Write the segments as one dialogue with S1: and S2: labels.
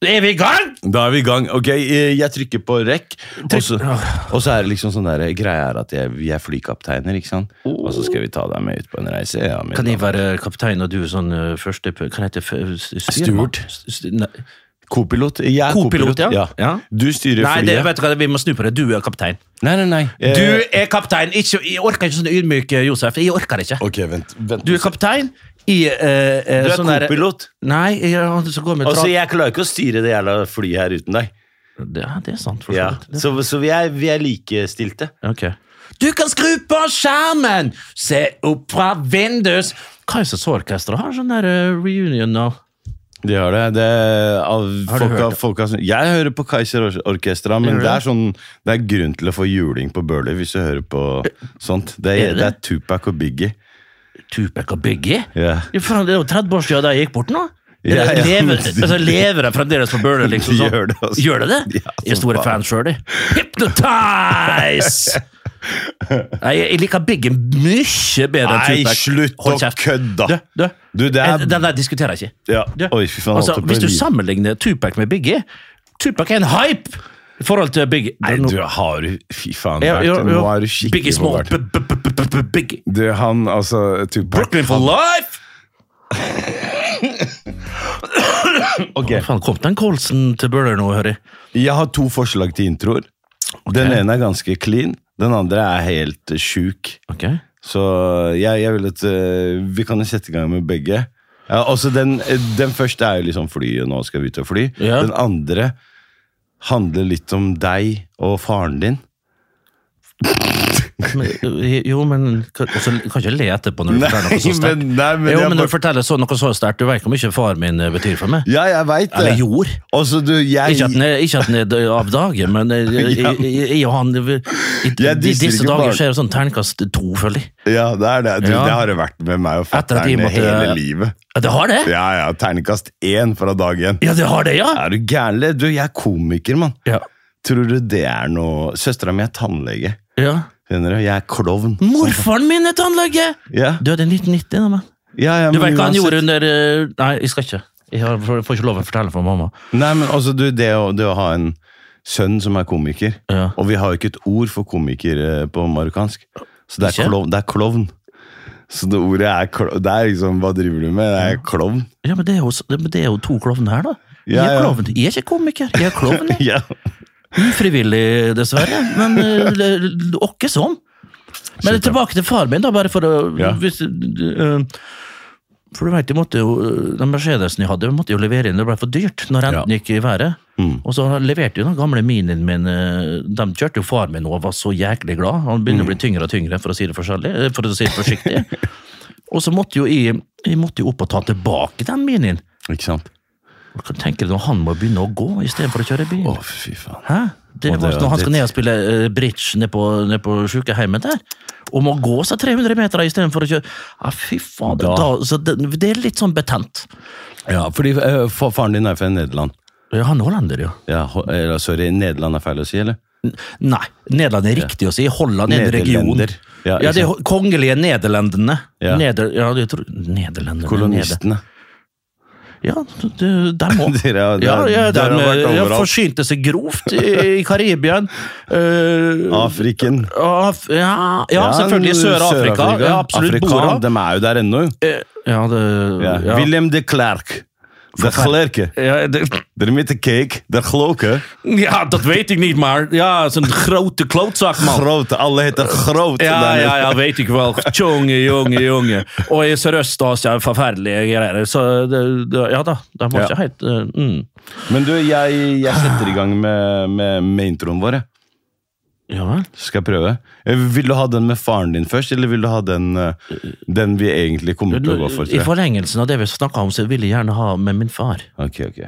S1: Er vi i gang?
S2: Da er vi i gang. Ok, eh, jeg trykker på rekk, og så, og så er det liksom sånn der greia er at jeg, vi er flykapteiner, ikke sant? Og så skal vi ta deg med ut på en reise. Ja, min
S1: Kan jeg
S2: mann.
S1: være kaptein og du sånn uh, første Kan jeg hete f- styrmann?
S2: Steward.
S1: St- nei.
S2: Kopilot? Jeg er
S1: Kopilot, ja. Ja.
S2: Du styrer
S1: Nei, det,
S2: flyet.
S1: vet du hva, vi må snu på det. Du er kaptein.
S2: Nei, nei, nei. Eh,
S1: Du er kaptein! Ikke, jeg orker ikke sånn ydmyk, eh, Josef. Jeg orker ikke.
S2: Ok, vent. vent.
S1: Du er kaptein i eh, eh,
S2: Du er
S1: sånn der-
S2: kopilot.
S1: Nei, jeg, er han som går med
S2: Altså,
S1: tra-
S2: jeg klarer ikke å styre det jævla flyet her uten deg.
S1: det, ja, det er sant, for så
S2: Ja.
S1: vidt. Det-
S2: Så, så vi, er, vi er likestilte.
S1: Ok. Du kan skru på skjermen! Se opp fra vinduet! Kaizers Orkester har sånn der eh, reunion nå.
S2: De har det. det av,
S1: Har du
S2: folk,
S1: hørt
S2: har-
S1: det?
S2: folk har, sånn- jeg hører på Kaiser Or- Orkestra, men
S1: Gjør du
S2: det er, sånn, det er grunn til å få juling på Burley hvis du hører på sånt. Det
S1: Er det
S2: er, det er
S1: det?
S2: Tupac og Biggie.
S1: Tupac og Biggie?
S2: Ja.
S1: Ja, faen, det er jo 30 år siden de gikk bort nå.
S2: Ja, ja,
S1: lever,
S2: men de-
S1: altså, lever de fremdeles på Burner? Liksom,
S2: De
S1: sånn?
S2: gjør det, altså.
S1: Gjør de det?
S2: Ja,
S1: jeg er
S2: som
S1: store
S2: faen.
S1: fans sjøl, jeg. Hypnotize! Nei, jeg jeg liker Biggie mye bedre enn
S2: Nei,
S1: Tupac.
S2: slutt å
S1: Hold kjeft.
S2: kødde!
S1: Du, du.
S2: Du, det er-
S1: Eh, Den der diskuterer jeg ikke.
S2: Ja.
S1: Du,
S2: Oi, fy faen.
S1: altså,
S2: holdt jeg på
S1: hvis
S2: å
S1: du
S2: gi-
S1: sammenligner Tupac med Biggie Tupac er en hype i forhold til Biggie.
S2: Nei,
S1: Nå-
S2: du har du Fy faen,
S1: Ja, ja,
S2: Bert.
S1: ja.
S2: Nå er du skikkelig
S1: Biggie
S2: på
S1: Small.
S2: Bert.
S1: Biggie.
S2: Du, han, altså Tupac
S1: Brooklyn for life!
S2: Ok,
S1: Faen, kom den kolsen til Burner nå, hører jeg.
S2: Jeg har to forslag til introer. Den ene er ganske clean. Den andre er helt eh, sjuk.
S1: Ok.
S2: Så jeg, jeg vil at eh, vi kan jo sette i gang med begge. Ja, altså den, eh, den første er jo liksom flyet, nå skal vi ut og fly.
S1: Ja.
S2: Den andre handler litt om deg og faren din.
S1: Men, eh, jo, men kan- altså, du kan ikke le etterpå når du forteller noe så sterkt.
S2: nei,
S1: Jo,
S2: jeg
S1: men når du
S2: bare-
S1: forteller så, noe så sterkt, du vet ikke hvor mye far min eh, betyr for meg.
S2: Ja, jeg veit
S1: Eller
S2: det.
S1: jord.
S2: Altså, du, jeg
S1: Ikke at den er, ikke at den er død av dage, men eh,
S2: Ja.
S1: jeg jeg og han I, i, i
S2: Jeg disser
S1: disse
S2: ikke
S1: dager
S2: barn.
S1: skjer det sånn terningkast to, føler jeg.
S2: Ja, det er det. Du,
S1: Ja.
S2: Det har det vært med meg og
S1: Etter at de
S2: fatter'n
S1: måtte-
S2: hele livet.
S1: Ja, det har det?
S2: Ja, ja, Terningkast én fra dag én.
S1: Ja, det har det, ja!
S2: Er du gæren? eller? Du, jeg er komiker, mann.
S1: Ja.
S2: Tror du det er noe Søstera mi er tannlege.
S1: ja.
S2: Skjønner du? Jeg er klovn.
S1: Mm. Morfaren min er tannlege!
S2: Ja.
S1: Døde i 1990, da, men.
S2: Ja, ja,
S1: Du vet
S2: men
S1: hva han
S2: uansett-
S1: gjorde under eh, Nei, jeg skal ikke. Jeg har, får ikke lov å fortelle for mamma.
S2: Nei, men altså, du, det å, det å ha en sønn som er komiker
S1: Ja.
S2: Og vi har jo ikke et ord for komiker eh, på marokkansk. Så det er,
S1: Ikke?
S2: klovn, det er klovn. Så det ordet er klovn. Det er liksom Hva driver du med? Det er klovn.
S1: Ja, men det er jo, men det er jo to klovner her, da. Jeg
S2: Ja,
S1: er
S2: ja.
S1: klovn. Jeg er ikke komiker. Jeg er klovn. jeg.
S2: Ja.
S1: Ufrivillig, dessverre. Men eh, l- l- åkke sånn. Men tilbake til far min, da, bare for å
S2: Ja.
S1: hvis, eh, For du vet, jeg måtte jo, eh, den Mercedesen jeg hadde, jeg måtte jo levere inn. Det ble for dyrt når renten
S2: Ja. Mm.
S1: gikk i været. Og så leverte jo den gamle minien min eh, De kjørte jo far min og var så jæklig glad. Han begynner å bli
S2: Mm.
S1: tyngre og tyngre, for å si det, forskjellig, eh, for å si det forsiktig. og så måtte jo jeg, jeg måtte jo opp og ta tilbake den minien.
S2: Ikke sant?
S1: Hva kan du tenke deg når han må begynne å gå istedenfor å kjøre bil?
S2: Å, fy faen.
S1: Hæ? Det
S2: Å, det
S1: var
S2: er
S1: når han skal
S2: dritt.
S1: ned og spille eh, bridge ned på, ned på sykehjemmet der. Om å gå seg 300 meter istedenfor å kjøre Ja, fy faen. Da.
S2: Da.
S1: så det, det er litt sånn betent.
S2: Ja, fordi eh, fa- faren din er fra Nederland.
S1: Ja, Han er hollender, jo.
S2: Ja, ho- eller, sorry, Nederland er feil å si, eller?
S1: Nei, Nederland er riktig å si. Holland er en region.
S2: Nederlender. Ja,
S1: Ja,
S2: ikke
S1: de
S2: sant?
S1: ho- kongelige nederlendene.
S2: Ja.
S1: Neder, ja, jeg tror, nederlendene neder-
S2: Kolonistene.
S1: Ja, du- der må
S2: Dere har-
S1: Ja, ja,
S2: dere har
S1: de,
S2: vært
S1: ja,
S2: overalt.
S1: forsynte seg grovt i, i Karibien. Eh,
S2: Afriken.
S1: Af ja, ja, selvfølgelig Sør-Afrika. ja, absolutt.
S2: Afrikanerne,
S1: Bora.
S2: de er jo der ennå.
S1: Eh, Ja, det
S2: Ja.
S1: ja.
S2: Willem de Klerk. De Klerke.
S1: Ja, det,
S2: Dere met de cake, de gloken.
S1: ja, dat weet ik niet, maar ja, zo'n grote klootzak, man.
S2: Groot, alle heter groot.
S1: Ja,
S2: der nede.
S1: ja, ja, vet ikke vel. Tjonge, jonge, jonge. Og i Sørøst-Asia er forferdelige greier. Så det, det, ja da, de var
S2: Ja.
S1: ikke helt eh, mm.
S2: Men du, jeg, jeg setter i gang med, med, med introen vår. jeg.
S1: Ja vel?
S2: Så skal jeg prøve. Eh, Vil du ha den med faren din først, eller vil du ha den, eh, den vi egentlig kommer til å gå for? tror
S1: I
S2: jeg?
S1: forlengelsen av det vi snakka om, så ville jeg gjerne ha med min far.
S2: Ok, ok.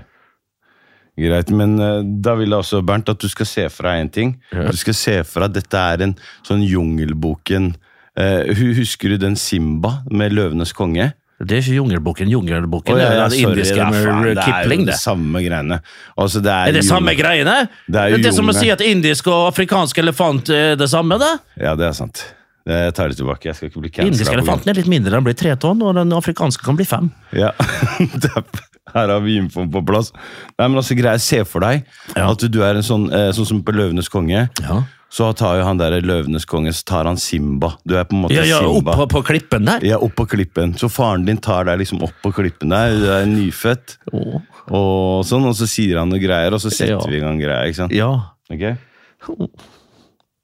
S2: Greit, men eh, da vil jeg også, Bernt, at du skal se fra en ting.
S1: Ja.
S2: Du skal se fra at dette er en sånn jungelboken. Eh, hu- husker du den Simba med Løvenes konge?
S1: Det er ikke Jungelboken. Jungelboken
S2: Å, ja,
S1: er
S2: ja,
S1: den
S2: sorry,
S1: indiske
S2: da,
S1: med
S2: faen, det er
S1: Kipling,
S2: jo
S1: det.
S2: det samme greiene. Altså, det er,
S1: Er det
S2: jungel-
S1: samme greiene?
S2: Det er jo
S1: det som å
S2: jungle.
S1: si at indisk og afrikansk elefant er det samme, da?
S2: Ja, det er sant. Jeg tar det tilbake. Jeg skal ikke bli cancela.
S1: Indisk
S2: på grunn-
S1: elefanten er litt mindre, den blir tre tonn, og den afrikanske kan bli fem.
S2: Ja. Det er- Her har vi infoen på plass. Nei, men altså, greia, Se for deg
S1: Ja.
S2: at du er en sånn eh, sånn som på Løvenes konge.
S1: Ja.
S2: Så tar jo han der Løvenes konge, så tar han Simba. Du er på en måte
S1: Ja, ja, opp
S2: Simba.
S1: på, på klippen der.
S2: Ja, opp på klippen. Så faren din tar deg liksom opp på klippen der. Du er nyfødt.
S1: Å,
S2: Og sånn, og så sier han noe greier, og så setter
S1: Ja.
S2: vi i gang greier. ikke sant?
S1: ja.
S2: Ok?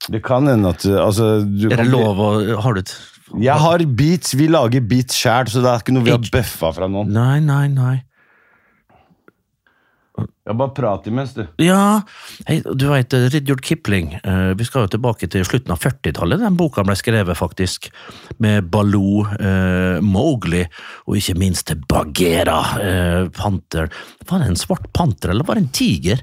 S2: Det kan hende at du- altså, du
S1: Er det
S2: kan-
S1: lov å Har du et
S2: Jeg har beats. Vi lager beats sjæl, så det er ikke noe vi har
S1: Ikke-
S2: bøffa fra noen.
S1: Nei, nei, nei.
S2: Jeg bare prat imens, du.
S1: Ja, hei, du vet, Ridjord Kipling, eh, vi skal jo tilbake til slutten av 40-tallet. Den boka ble skrevet faktisk med Baloo, eh, Mowgli og ikke minst til Bagheera, eh, panter. Var det en svart panter, eller var det en tiger?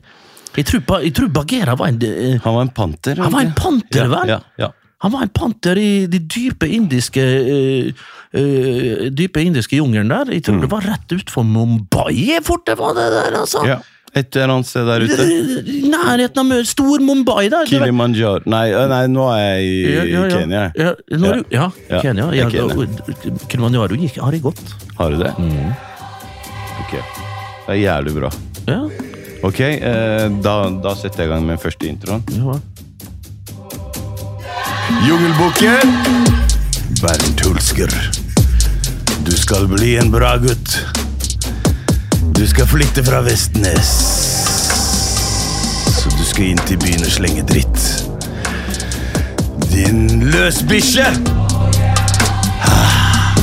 S1: Jeg tror, Ba- jeg tror Bagheera var en eh,
S2: Han var en panter.
S1: Han var en
S2: ikke?
S1: panter,
S2: ja,
S1: vel?
S2: Ja, ja.
S1: Han var en panter i de dype indiske eh, eh, dype indiske jungelen der. Jeg
S2: Mm.
S1: tror det var rett utfor Mumbai fort det var det der, altså.
S2: ja. Et eller annet sted der ute.
S1: I nærheten av Mø- stor Mumbai der. du vet.
S2: Kilimanjaro Nei, øh, nei, nå er jeg i i Kenya. jeg.
S1: Ja, nå er du, ja,
S2: Ja,
S1: Kenya.
S2: jeg
S1: Ja,
S2: er Kenya.
S1: og- Kilimanjaro gikk, har det gått.
S2: Har du det? Ok. Det er jævlig bra.
S1: Ja,
S2: Ok, eh, da, da setter jeg i gang med den første introen.
S1: ja.
S2: Jungelbukken! Vær en tulsker. Du skal bli en bra gutt. Du skal flytte fra Vestnes. Så du skal inn til byen og slenge dritt. Din løsbikkje! Ah.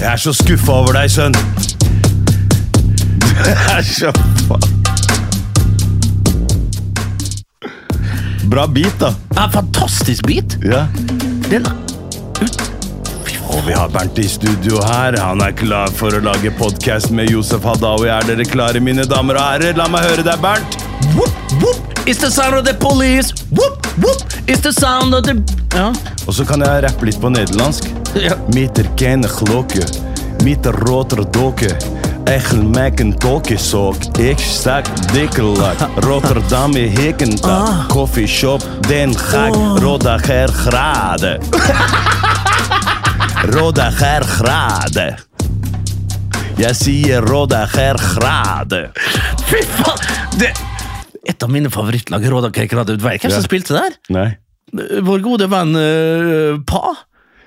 S2: Jeg er så skuffa over deg, sønn. Du er så faen Bra beat, da.
S1: Ja, fantastisk bit!
S2: Ja.
S1: Den ut, Fy faen.
S2: Og vi har Bernt i studio her. Han er klar for å lage podkast med Josef Hadaoui. Er dere klare, mine damer og herrer? La meg høre deg, Bernt.
S1: Whoop, whoop, it's the sound of the police! Whoop, whoop, it's the sound of the Ja.
S2: Og så kan jeg rappe litt på nederlandsk.
S1: Ja.
S2: Meter keine klokke, meter roter dokke. Egel meg en tolkesok, ik stak dikkelak. Rotterdam i
S1: Ah.
S2: Hikkentad, koffieshop, den gak.
S1: Oh.
S2: Roda ger grade. Roda ger grade. Jeg sier roda ger grade.
S1: Fy faen! Det et av mine favorittlag, Råda Krekeradet Utvei. Hvem som
S2: Ja.
S1: spilte der?
S2: Nei.
S1: Vår gode venn eh, Pa?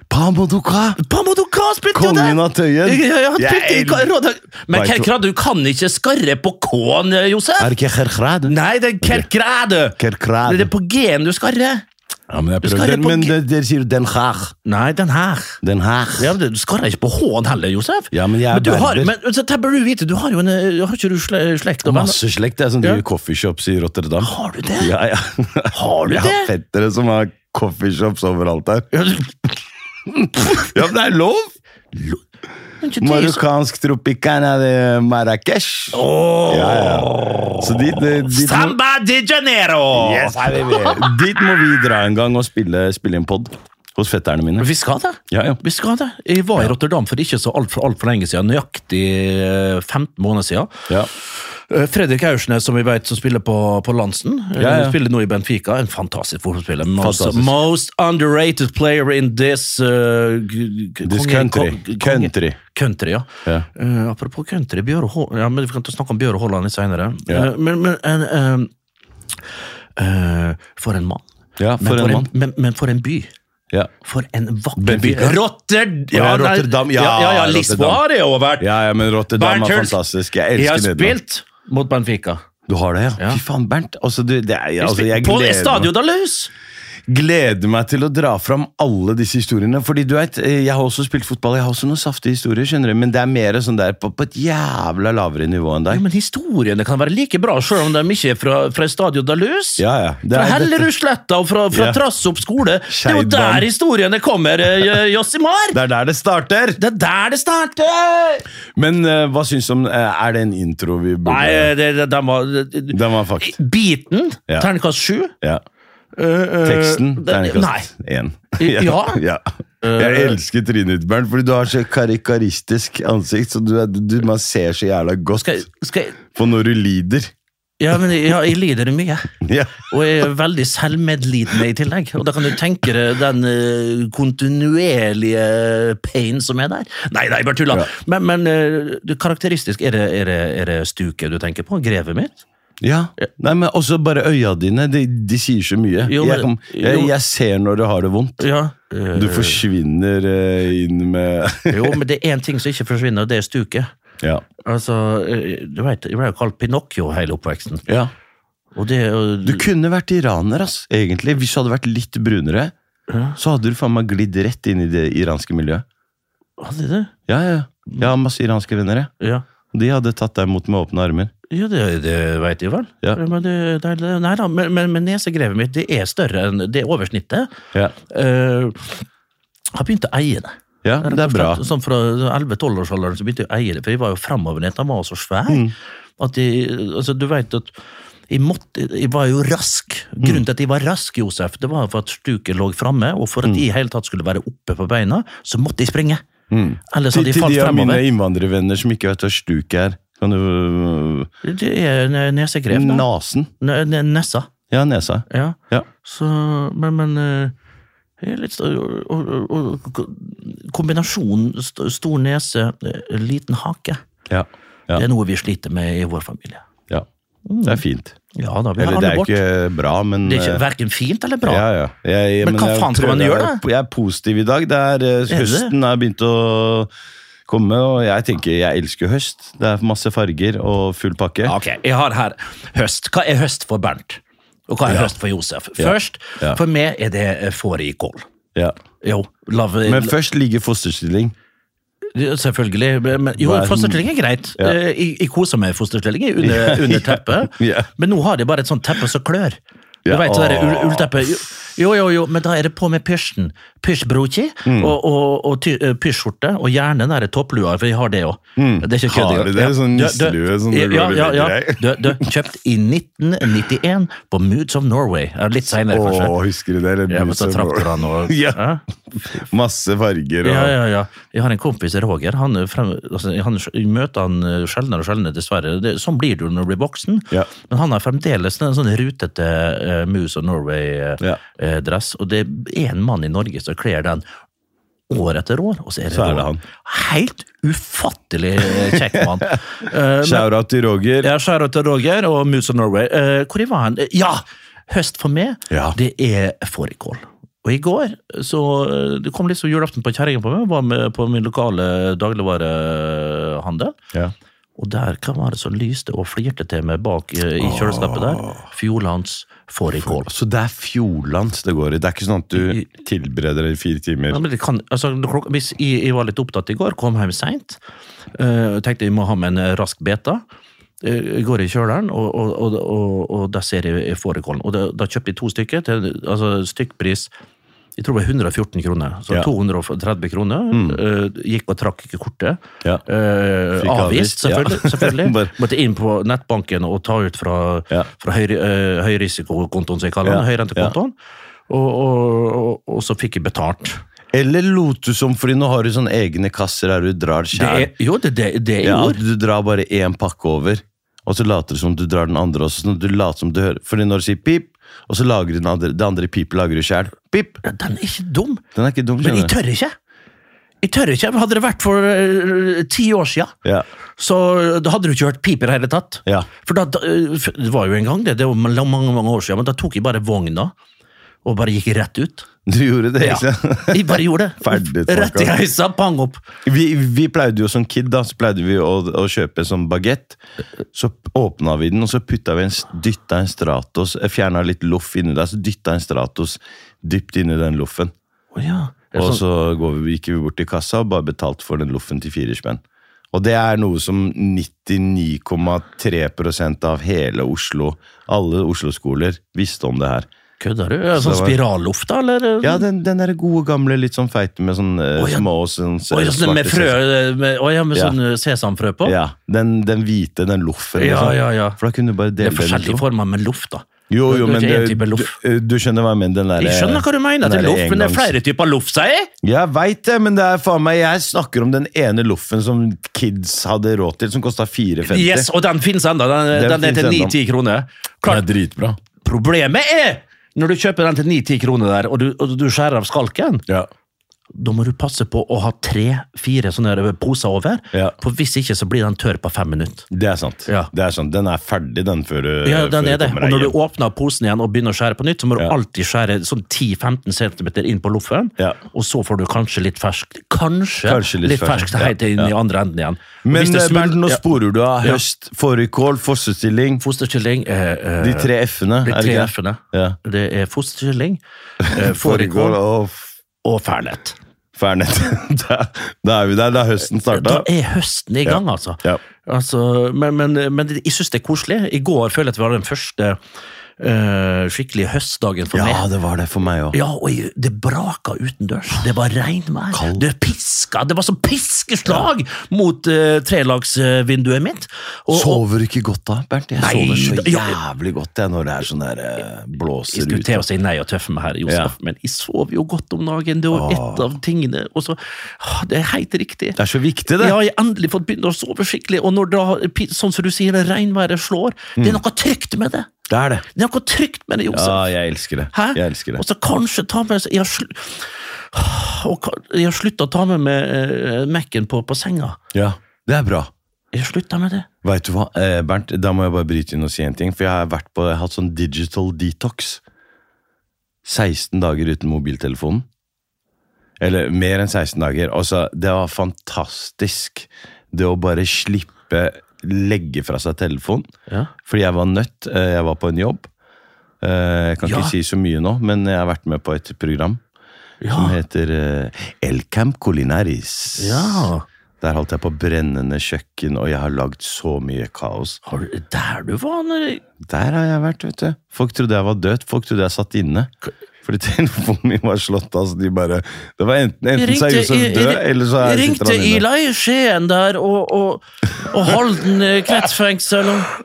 S2: Pamodoka!
S1: Pamodoka spilte jo der!
S2: Kongen av Tøyen.
S1: Ja, ja, han
S2: Jeg
S1: spilte i
S2: elsker-
S1: Råda... Men
S2: Vet du-
S1: Krekra, du kan ikke skarre på K-en, eh, Josef!
S2: Er det ikke ger grade?
S1: Nei, det er Kerkrade!
S2: Ger
S1: Det
S2: grade.
S1: er på G-en du skarrer.
S2: Ja, men jeg
S1: skal
S2: prøvde.
S1: jo på
S2: Men
S1: g-
S2: dere dere sier Den Haag.
S1: Nei, den her.
S2: Den Haag.
S1: Ja, men Du skarrer ikke på H-en heller, Josef.
S2: Ja, men jeg er
S1: men du har,
S2: berber.
S1: men, så der bør du vite, du har jo en eh, Har ikke du sle- slekt og venner?
S2: Masse slekt jeg, som driver
S1: Ja.
S2: coffeeshops i Rotterdam.
S1: Har du det?
S2: Ja, ja.
S1: Har du
S2: Jeg har
S1: det?
S2: fettere som har coffeeshops overalt her.
S1: Ja, du-
S2: Ja, men det er lov!
S1: men ikke det som-
S2: Marokkansk tropicana de Marrakech.
S1: Åh!
S2: Ja, ja. Så dit, eh, dit, må,
S1: Samba de Janeiro!
S2: Yes, habibi. dit må vi dra en gang og spille, spille en pod hos fetterne mine.
S1: Men vi skal det.
S2: Ja, ja.
S1: Vi skal det. Jeg var i Rotterdam for ikke så altfor alt for lenge siden, nøyaktig eh, 15 måneder siden.
S2: ja.
S1: Eh, Fredrik Aursnes, som vi vet, som spiller på, på Lansen. eh,
S2: Ja, ja.
S1: Spiller nå i Benfica. En fantastisk fotballspiller. Most,
S2: Fantastisk.
S1: most underrated player in this uh, g- g-
S2: This
S1: konge-
S2: country.
S1: ko- konge-
S2: Country.
S1: Country, ja.
S2: Ja.
S1: Eh, apropos country, Bjøre Haaland ja, men Vi kan ta- snakke om Bjøre Haaland litt senere.
S2: Ja.
S1: Eh, men men en, eh, eh, For en mann.
S2: ja,
S1: Men
S2: for en mann.
S1: Men, men for en by.
S2: Ja.
S1: For en vakker by.
S2: Benfica.
S1: Rotterdam!
S2: Ja,
S1: nei,
S2: Rotterdam, ja,
S1: ja, ja, ja Lisboa
S2: Rotterdam.
S1: har jeg jo vært.
S2: ja, ja, men Rotterdam
S1: Bernt
S2: er
S1: Hulst.
S2: fantastisk. Jeg
S1: jeg har
S2: elsker Nederland.
S1: spilt mot Benfica.
S2: Du har det, ja?
S1: Ja.
S2: Fy faen, Bernt. Altså, du, det er, altså, jeg
S1: på
S2: gleder meg,
S1: Stadio da Luz!
S2: gleder meg til å dra fram alle disse historiene. Fordi du vet, eh, Jeg har også spilt fotball, jeg har også noen saftige historier, skjønner du. men det er mer sånn der på, på et jævla lavere nivå enn
S1: Ja,
S2: deg.
S1: men historiene kan være like bra, sjøl om de ikke er fra, fra Stadio da Luz.
S2: Ja, ja. Det
S1: Fra
S2: er, dette,
S1: Hellerudsletta og fra, fra
S2: Ja.
S1: Trassopp skole. Det er jo
S2: Skeidbanen.
S1: der historiene kommer, eh, Jossimar!
S2: det er der det starter!
S1: Det er der det starter!
S2: Men eh, hva syns du om eh, Er det en intro vi burde
S1: Nei, eh, det, det, de var
S2: Den var fucked.
S1: Biten,
S2: Ja.
S1: terningkast sju.
S2: Ja.
S1: Eh, eh,
S2: Teksten?
S1: det-
S2: Terningkast én.
S1: I- ja? Eh,
S2: ja. Jeg elsker trynet ditt, Bernt, fordi du har så karikaristisk ansikt. Så du, er- du, man ser så jævla godt
S1: Skal, jeg- skal jeg
S2: på når du lider.
S1: Ja, men jeg, ja, jeg lider mye.
S2: Ja.
S1: Og jeg er veldig selvmedlidende i tillegg. Og da kan du tenke deg den eh, kontinuerlige pain som er der. Nei, nei, bare tulla.
S2: Ja.
S1: Men, men eh, du, karakteristisk, er det, er, det, er det stuket du tenker på? Grevet mitt?
S2: ja. Nei, men også bare øya dine. De, de sier så mye.
S1: Jo,
S2: jeg,
S1: men-
S2: kom, jeg,
S1: jo.
S2: jeg ser når du har det vondt.
S1: Ja. eh,
S2: Du forsvinner eh, inn med
S1: jo, men det er én ting som ikke forsvinner, og det er stuket.
S2: Ja.
S1: Altså, eh, du vet, Jeg ble jo kalt Pinocchio hele oppveksten.
S2: ja.
S1: Og det, og,
S2: Du kunne vært iraner, ass, egentlig. Hvis du hadde vært litt brunere,
S1: Ja.
S2: så hadde du faen meg glidd rett inn i det iranske miljøet.
S1: Hadde det?
S2: Ja, ja.
S1: Mm.
S2: Jeg har masse iranske venner, jeg.
S1: Ja.
S2: Og De hadde tatt deg imot med åpne armer.
S1: Ja, det, det veit jeg vel.
S2: Ja.
S1: Men, det, det, det- nei da, men, men, men nesegrevet mitt det er større enn det oversnittet.
S2: Ja,
S1: Uh, har begynt å eie det.
S2: ja
S1: Rett og
S2: det er bra.
S1: slett, Sånn Fra 11-12-årsalderen så begynte jeg å eie det, for jeg var jo fremoverlent. Han var jo så svær.
S2: Mm.
S1: At jeg, altså, du vet at jeg, måtte, jeg var jo rask. Grunnen til at jeg var rask, Josef, det var for at stuket lå framme, og for at jeg i hele tatt skulle være oppe på beina, så måtte jeg springe.
S2: Mm.
S1: Ellers
S2: Til,
S1: hadde jeg
S2: til
S1: falt
S2: de av mine
S1: fremover.
S2: innvandrervenner som ikke vet hva stuk er. Kan du øh,
S1: Det er ne- nesegrev. da.
S2: Nasen.
S1: Ne- ne- Nessa.
S2: Ja, nesa.
S1: Ja.
S2: Ja.
S1: Så, men, men eh, jeg er litt større- og, og, og, og Kombinasjonen st- stor nese, eh, liten hake,
S2: Ja. Ja.
S1: det Mm. er noe vi sliter med i vår familie.
S2: ja. Det er fint.
S1: Ja da, vi har
S2: Eller det
S1: alle
S2: er
S1: vårt.
S2: ikke bra, men
S1: Det er ikke
S2: eh,
S1: verken fint eller bra.
S2: Ja, ja. Jeg, jeg-
S1: Men hva
S2: jeg
S1: faen skal man
S2: prøver å
S1: gjøre,
S2: være- Jeg er positiv i dag. Det er, eh,
S1: det?
S2: høsten har begynt å komme, og jeg tenker jeg elsker høst. Det er masse farger og full pakke.
S1: Ok, jeg har her høst. Hva er høst for Bernt? Og hva er høst for Josef? Først,
S2: Ja.
S1: for meg er det eh, fårikål.
S2: Ja.
S1: Jo, love,
S2: Men først ligger fosterstilling.
S1: Ja, Selvfølgelig. Men, jo,
S2: Hva er-
S1: fosterstilling er greit.
S2: Ja.
S1: Eh, Jeg, jeg koser meg i fosterstilling jeg, under, under teppet,
S2: Ja.
S1: men nå har de bare et sånt teppe som klør. Du
S2: Ja,
S1: vet det der
S2: åh.
S1: ull- ullteppet. Jo, jo, jo, men da er det på med pysjen. Pysjbroki
S2: Mm.
S1: og, og, og ty- eh, pysjskjorte, og gjerne den der topplua, for jeg har det òg. Det er ikke kødd.
S2: Mm. Har du det? Sånn nisselue som du går
S1: ja,
S2: og
S1: ja, ja.
S2: legger
S1: Du, du, Kjøpt i 1991 på Moods of Norway. Ja, Litt seinere, kanskje.
S2: Å, husker du det? Eller
S1: Ja, men så
S2: Boots of War.
S1: traktor han og
S2: Ja.
S1: Hæ?
S2: Masse farger og
S1: Ja, ja, ja. Jeg har en kompis, Roger. Han, er frem, altså, han jeg møter han eh, sjeldnere og sjeldnere, dessverre. Det, sånn blir du når du blir voksen.
S2: Ja.
S1: Men han har fremdeles en sånn rutete eh, Moose of Norway-dress.
S2: Ja.
S1: eh, og det er en mann i Norge som kler den år etter år, og så er det,
S2: Så er det
S1: Roger.
S2: han.
S1: Helt ufattelig eh, kjekk mann. Eh, men-
S2: Shout-out til Roger.
S1: ja, Skjæra til Roger og Moose of Norway. Eh, hvor jeg var han? Eh, Ja! Høst for meg,
S2: Ja.
S1: det er fårikål. Og i går så eh, Det kom litt som julaften på kjerringa på meg. Var med på min lokale dagligvarehandel.
S2: Ja.
S1: Og der, hva var det som lyste og flirte til meg bak eh, i kjøleskapet der? Fjordlands fårikål.
S2: Så det er fjordlands det går i. Det er ikke sånn at du tilbereder det i fire
S1: Ja,
S2: timer.
S1: men det kan, altså, klok- hvis jeg, jeg var litt opptatt i går, kom hjem seint, tenkte jeg må ha med en eh, rask beta. Eh, går i kjøleren, og, og, og, og, og der ser jeg fårikålen. Og da, da kjøpte jeg to stykker til altså, stykkpris jeg tror det var 114 kroner, så
S2: Ja. Mm.
S1: 230 kroner. eh, gikk og trakk ikke kortet.
S2: Ja.
S1: Eh,
S2: Fikk
S1: avvist,
S2: avvist, ja.
S1: selvfølgelig.
S2: Bare-
S1: selvfølgelig. Måtte inn på nettbanken og ta ut fra,
S2: Ja.
S1: fra høy, eh, høyrisikokontoen, som jeg kaller den.
S2: Ja.
S1: Høyrentekontoen. Og, og, og, og så fikk jeg betalt.
S2: Eller lot du som, fordi nå har du sånne egne kasser der du drar
S1: Det
S2: sjæl.
S1: er, jo, det, det, det er
S2: Ja,
S1: jo
S2: at du drar bare én pakke over, og så later du som du drar den andre også. Sånn at du later som du hører. Fordi når du sier pip, og så lager du den andre, det andre pipet lager du sjæl. Pip!
S1: Den er ikke dum,
S2: Den er ikke dum,
S1: men jeg
S2: skjønner du.
S1: tør ikke. Jeg tør ikke. Hadde det vært for eh, ti år siden,
S2: Ja.
S1: så eh, da hadde du ikke hørt piper i det hele tatt.
S2: Ja.
S1: For da, da, eh, f- det var jo en gang, det, det var mange, mange år siden, men da tok jeg bare vogna og bare gikk rett ut.
S2: Du gjorde det, liksom.
S1: Ja.
S2: ikke sant?
S1: Jeg bare gjorde det.
S2: Ferdig snakka.
S1: Rett i heisa, pang opp.
S2: Vi, vi pleide jo som kid da, så pleide vi å, å kjøpe sånn bagett. Så åpna vi den, og så putta vi en, s- dytta en Stratos Fjerna litt loff inni der, så dytta en Stratos dypt inni den loffen.
S1: Å ja. Er det
S2: Og
S1: sånn-
S2: så går vi, gikk vi bort til kassa og bare betalte for den loffen til fire spenn. Og det er noe som 99,3 av hele Oslo, alle Oslo-skoler, visste om det her.
S1: Kødder du? Er det Sånn
S2: Så det var-
S1: spiralluft, da? Eller?
S2: Ja, den, den der gode gamle, litt sånn feite med sånn eh,
S1: Å, ja.
S2: små sånn,
S1: Å, ja, sånn med
S2: svarte
S1: frø, med, å, ja, med
S2: Ja.
S1: sånn eh, sesamfrø på?
S2: Ja, den, den hvite, den loffen.
S1: Ja,
S2: liksom.
S1: ja, ja.
S2: For da kunne du bare
S1: Det
S2: dele
S1: er
S2: den. i
S1: forskjellige
S2: to.
S1: former med luft, da.
S2: Jo,
S1: Det
S2: jo,
S1: er
S2: men
S1: ikke en
S2: det-
S1: type
S2: du, eh,
S1: loff.
S2: du skjønner hva jeg mener? Den der,
S1: Jeg skjønner hva du mener, det
S2: den
S1: er
S2: der
S1: loff, men det er
S2: engangs-
S1: flere typer loff, sier jeg!
S2: Jeg veit det, men det er faen meg Jeg snakker om den ene loffen som kids hadde råd til, som kosta 4,50.
S1: Yes, og den finnes ennå. Den,
S2: Den
S1: den, er til
S2: finnes ennå.
S1: 9-10 kroner.
S3: Det er
S1: Klart,
S3: dritbra.
S1: problemet er når du kjøper den til 9-10 kroner der, og du, og du skjærer av skalken,
S3: Ja.
S1: da må du passe på å ha tre-fire sånne her poser over.
S2: Ja.
S1: For hvis ikke, så blir den tørr på fem minutter.
S2: Det er sant.
S1: Ja.
S2: Det er sant. Den er ferdig, den, før du
S1: Ja, den
S2: før
S1: er
S2: du
S1: det.
S2: kommer
S1: Og når
S2: deg
S1: du
S2: hjem.
S1: åpner posen igjen og begynner å skjære på nytt, så må du
S2: Ja.
S1: alltid skjære sånn 10-15 cm inn på loffen,
S2: Ja.
S1: og så får du kanskje litt ferskt. Kanskje,
S2: Kanskje litt
S1: litt, ferskt
S2: ferskt, ja.
S1: helt inn i andre enden igjen. Og
S2: Men
S1: hvis det
S2: eh,
S1: smul-
S2: Bernt, nå
S1: ja,
S2: sporer du av
S1: Ja.
S2: høst, fårikål, fossestilling,
S1: Fosterkylling eh, eh,
S2: de tre F-ene,
S1: De
S2: er det
S1: tre
S2: ikke det?
S1: F-ene.
S2: Ja.
S1: Det er fosterkylling, eh,
S2: Fårikål
S1: fårikål
S2: og f-
S1: og fernet.
S2: fernet. da, da er vi der, da er høsten
S1: Da
S2: starta.
S1: er høsten i gang, altså.
S2: Ja.
S1: altså men, men, men jeg syns det er koselig. I går føler jeg at vi hadde den første eh, skikkelige høstdagen for
S2: ja,
S1: meg.
S2: det var det for meg òg.
S1: Ja, og jeg- det braka utendørs. Det var regnvær. Det piska. Det var som piskeslag mot eh, trelagsvinduet mitt. Og, og
S2: Sover du ikke godt da, Bernt? Jeg
S1: Nei,
S2: sover så
S1: da- ja.
S2: jævlig godt jeg, når det er sånn der eh,
S1: jeg
S2: blåser
S1: skulle
S2: ut.
S1: til å si nei og tøffe meg her, Josef, men jeg sover jo godt om dagen. Det var ett av tingene. Og så, ah, det er helt riktig.
S2: Det er så viktig,
S1: Jeg
S2: det.
S1: har jeg endelig fått begynne å sove skikkelig, og når da, pi- sånn som du sier, det regnværet slår, det er noe trygt med det.
S2: Det er det.
S1: Det er noe trygt med det,
S2: Mm. Ja,
S1: Josef.
S2: jeg elsker det.
S1: Hæ?
S2: Jeg elsker det.
S1: Og så kanskje ta med Jeg har, sl og ka- jeg har slutta å ta med meg eh, Mac-en på, på senga.
S2: Ja, det er bra.
S1: Jeg har slutta med det.
S2: Vet du hva, eh, Bernt, da må jeg bare bryte inn og si en ting, for jeg har vært på, jeg har hatt sånn digital detox. 16 dager uten mobiltelefonen. Eller mer enn 16 dager. Altså, det var fantastisk. Det å bare slippe legge fra seg telefonen.
S1: Ja.
S2: Fordi jeg var nødt, eh, jeg var på en jobb. Eh, Jeg kan
S1: Ja.
S2: ikke si så mye nå, men jeg har vært med på et program
S1: Ah.
S2: som heter eh, El Camp Culinaris.
S1: Ja.
S2: Der holdt jeg på brennende kjøkken, og jeg har lagd så mye kaos.
S1: Har du, der du var når jeg-
S2: Der har jeg vært, vet du. Folk trodde jeg var død, folk trodde jeg satt inne. Fordi telefonen min var slått av, så de bare Det var enten,
S1: Jeg
S2: enten så er Josef
S1: jeg-
S2: død,
S1: jeg-
S2: eller så
S1: jeg
S2: er, sitter
S1: ringte
S2: han inne.
S1: Ila i Skien der, og, og, og Halden eh, kretsfengsel og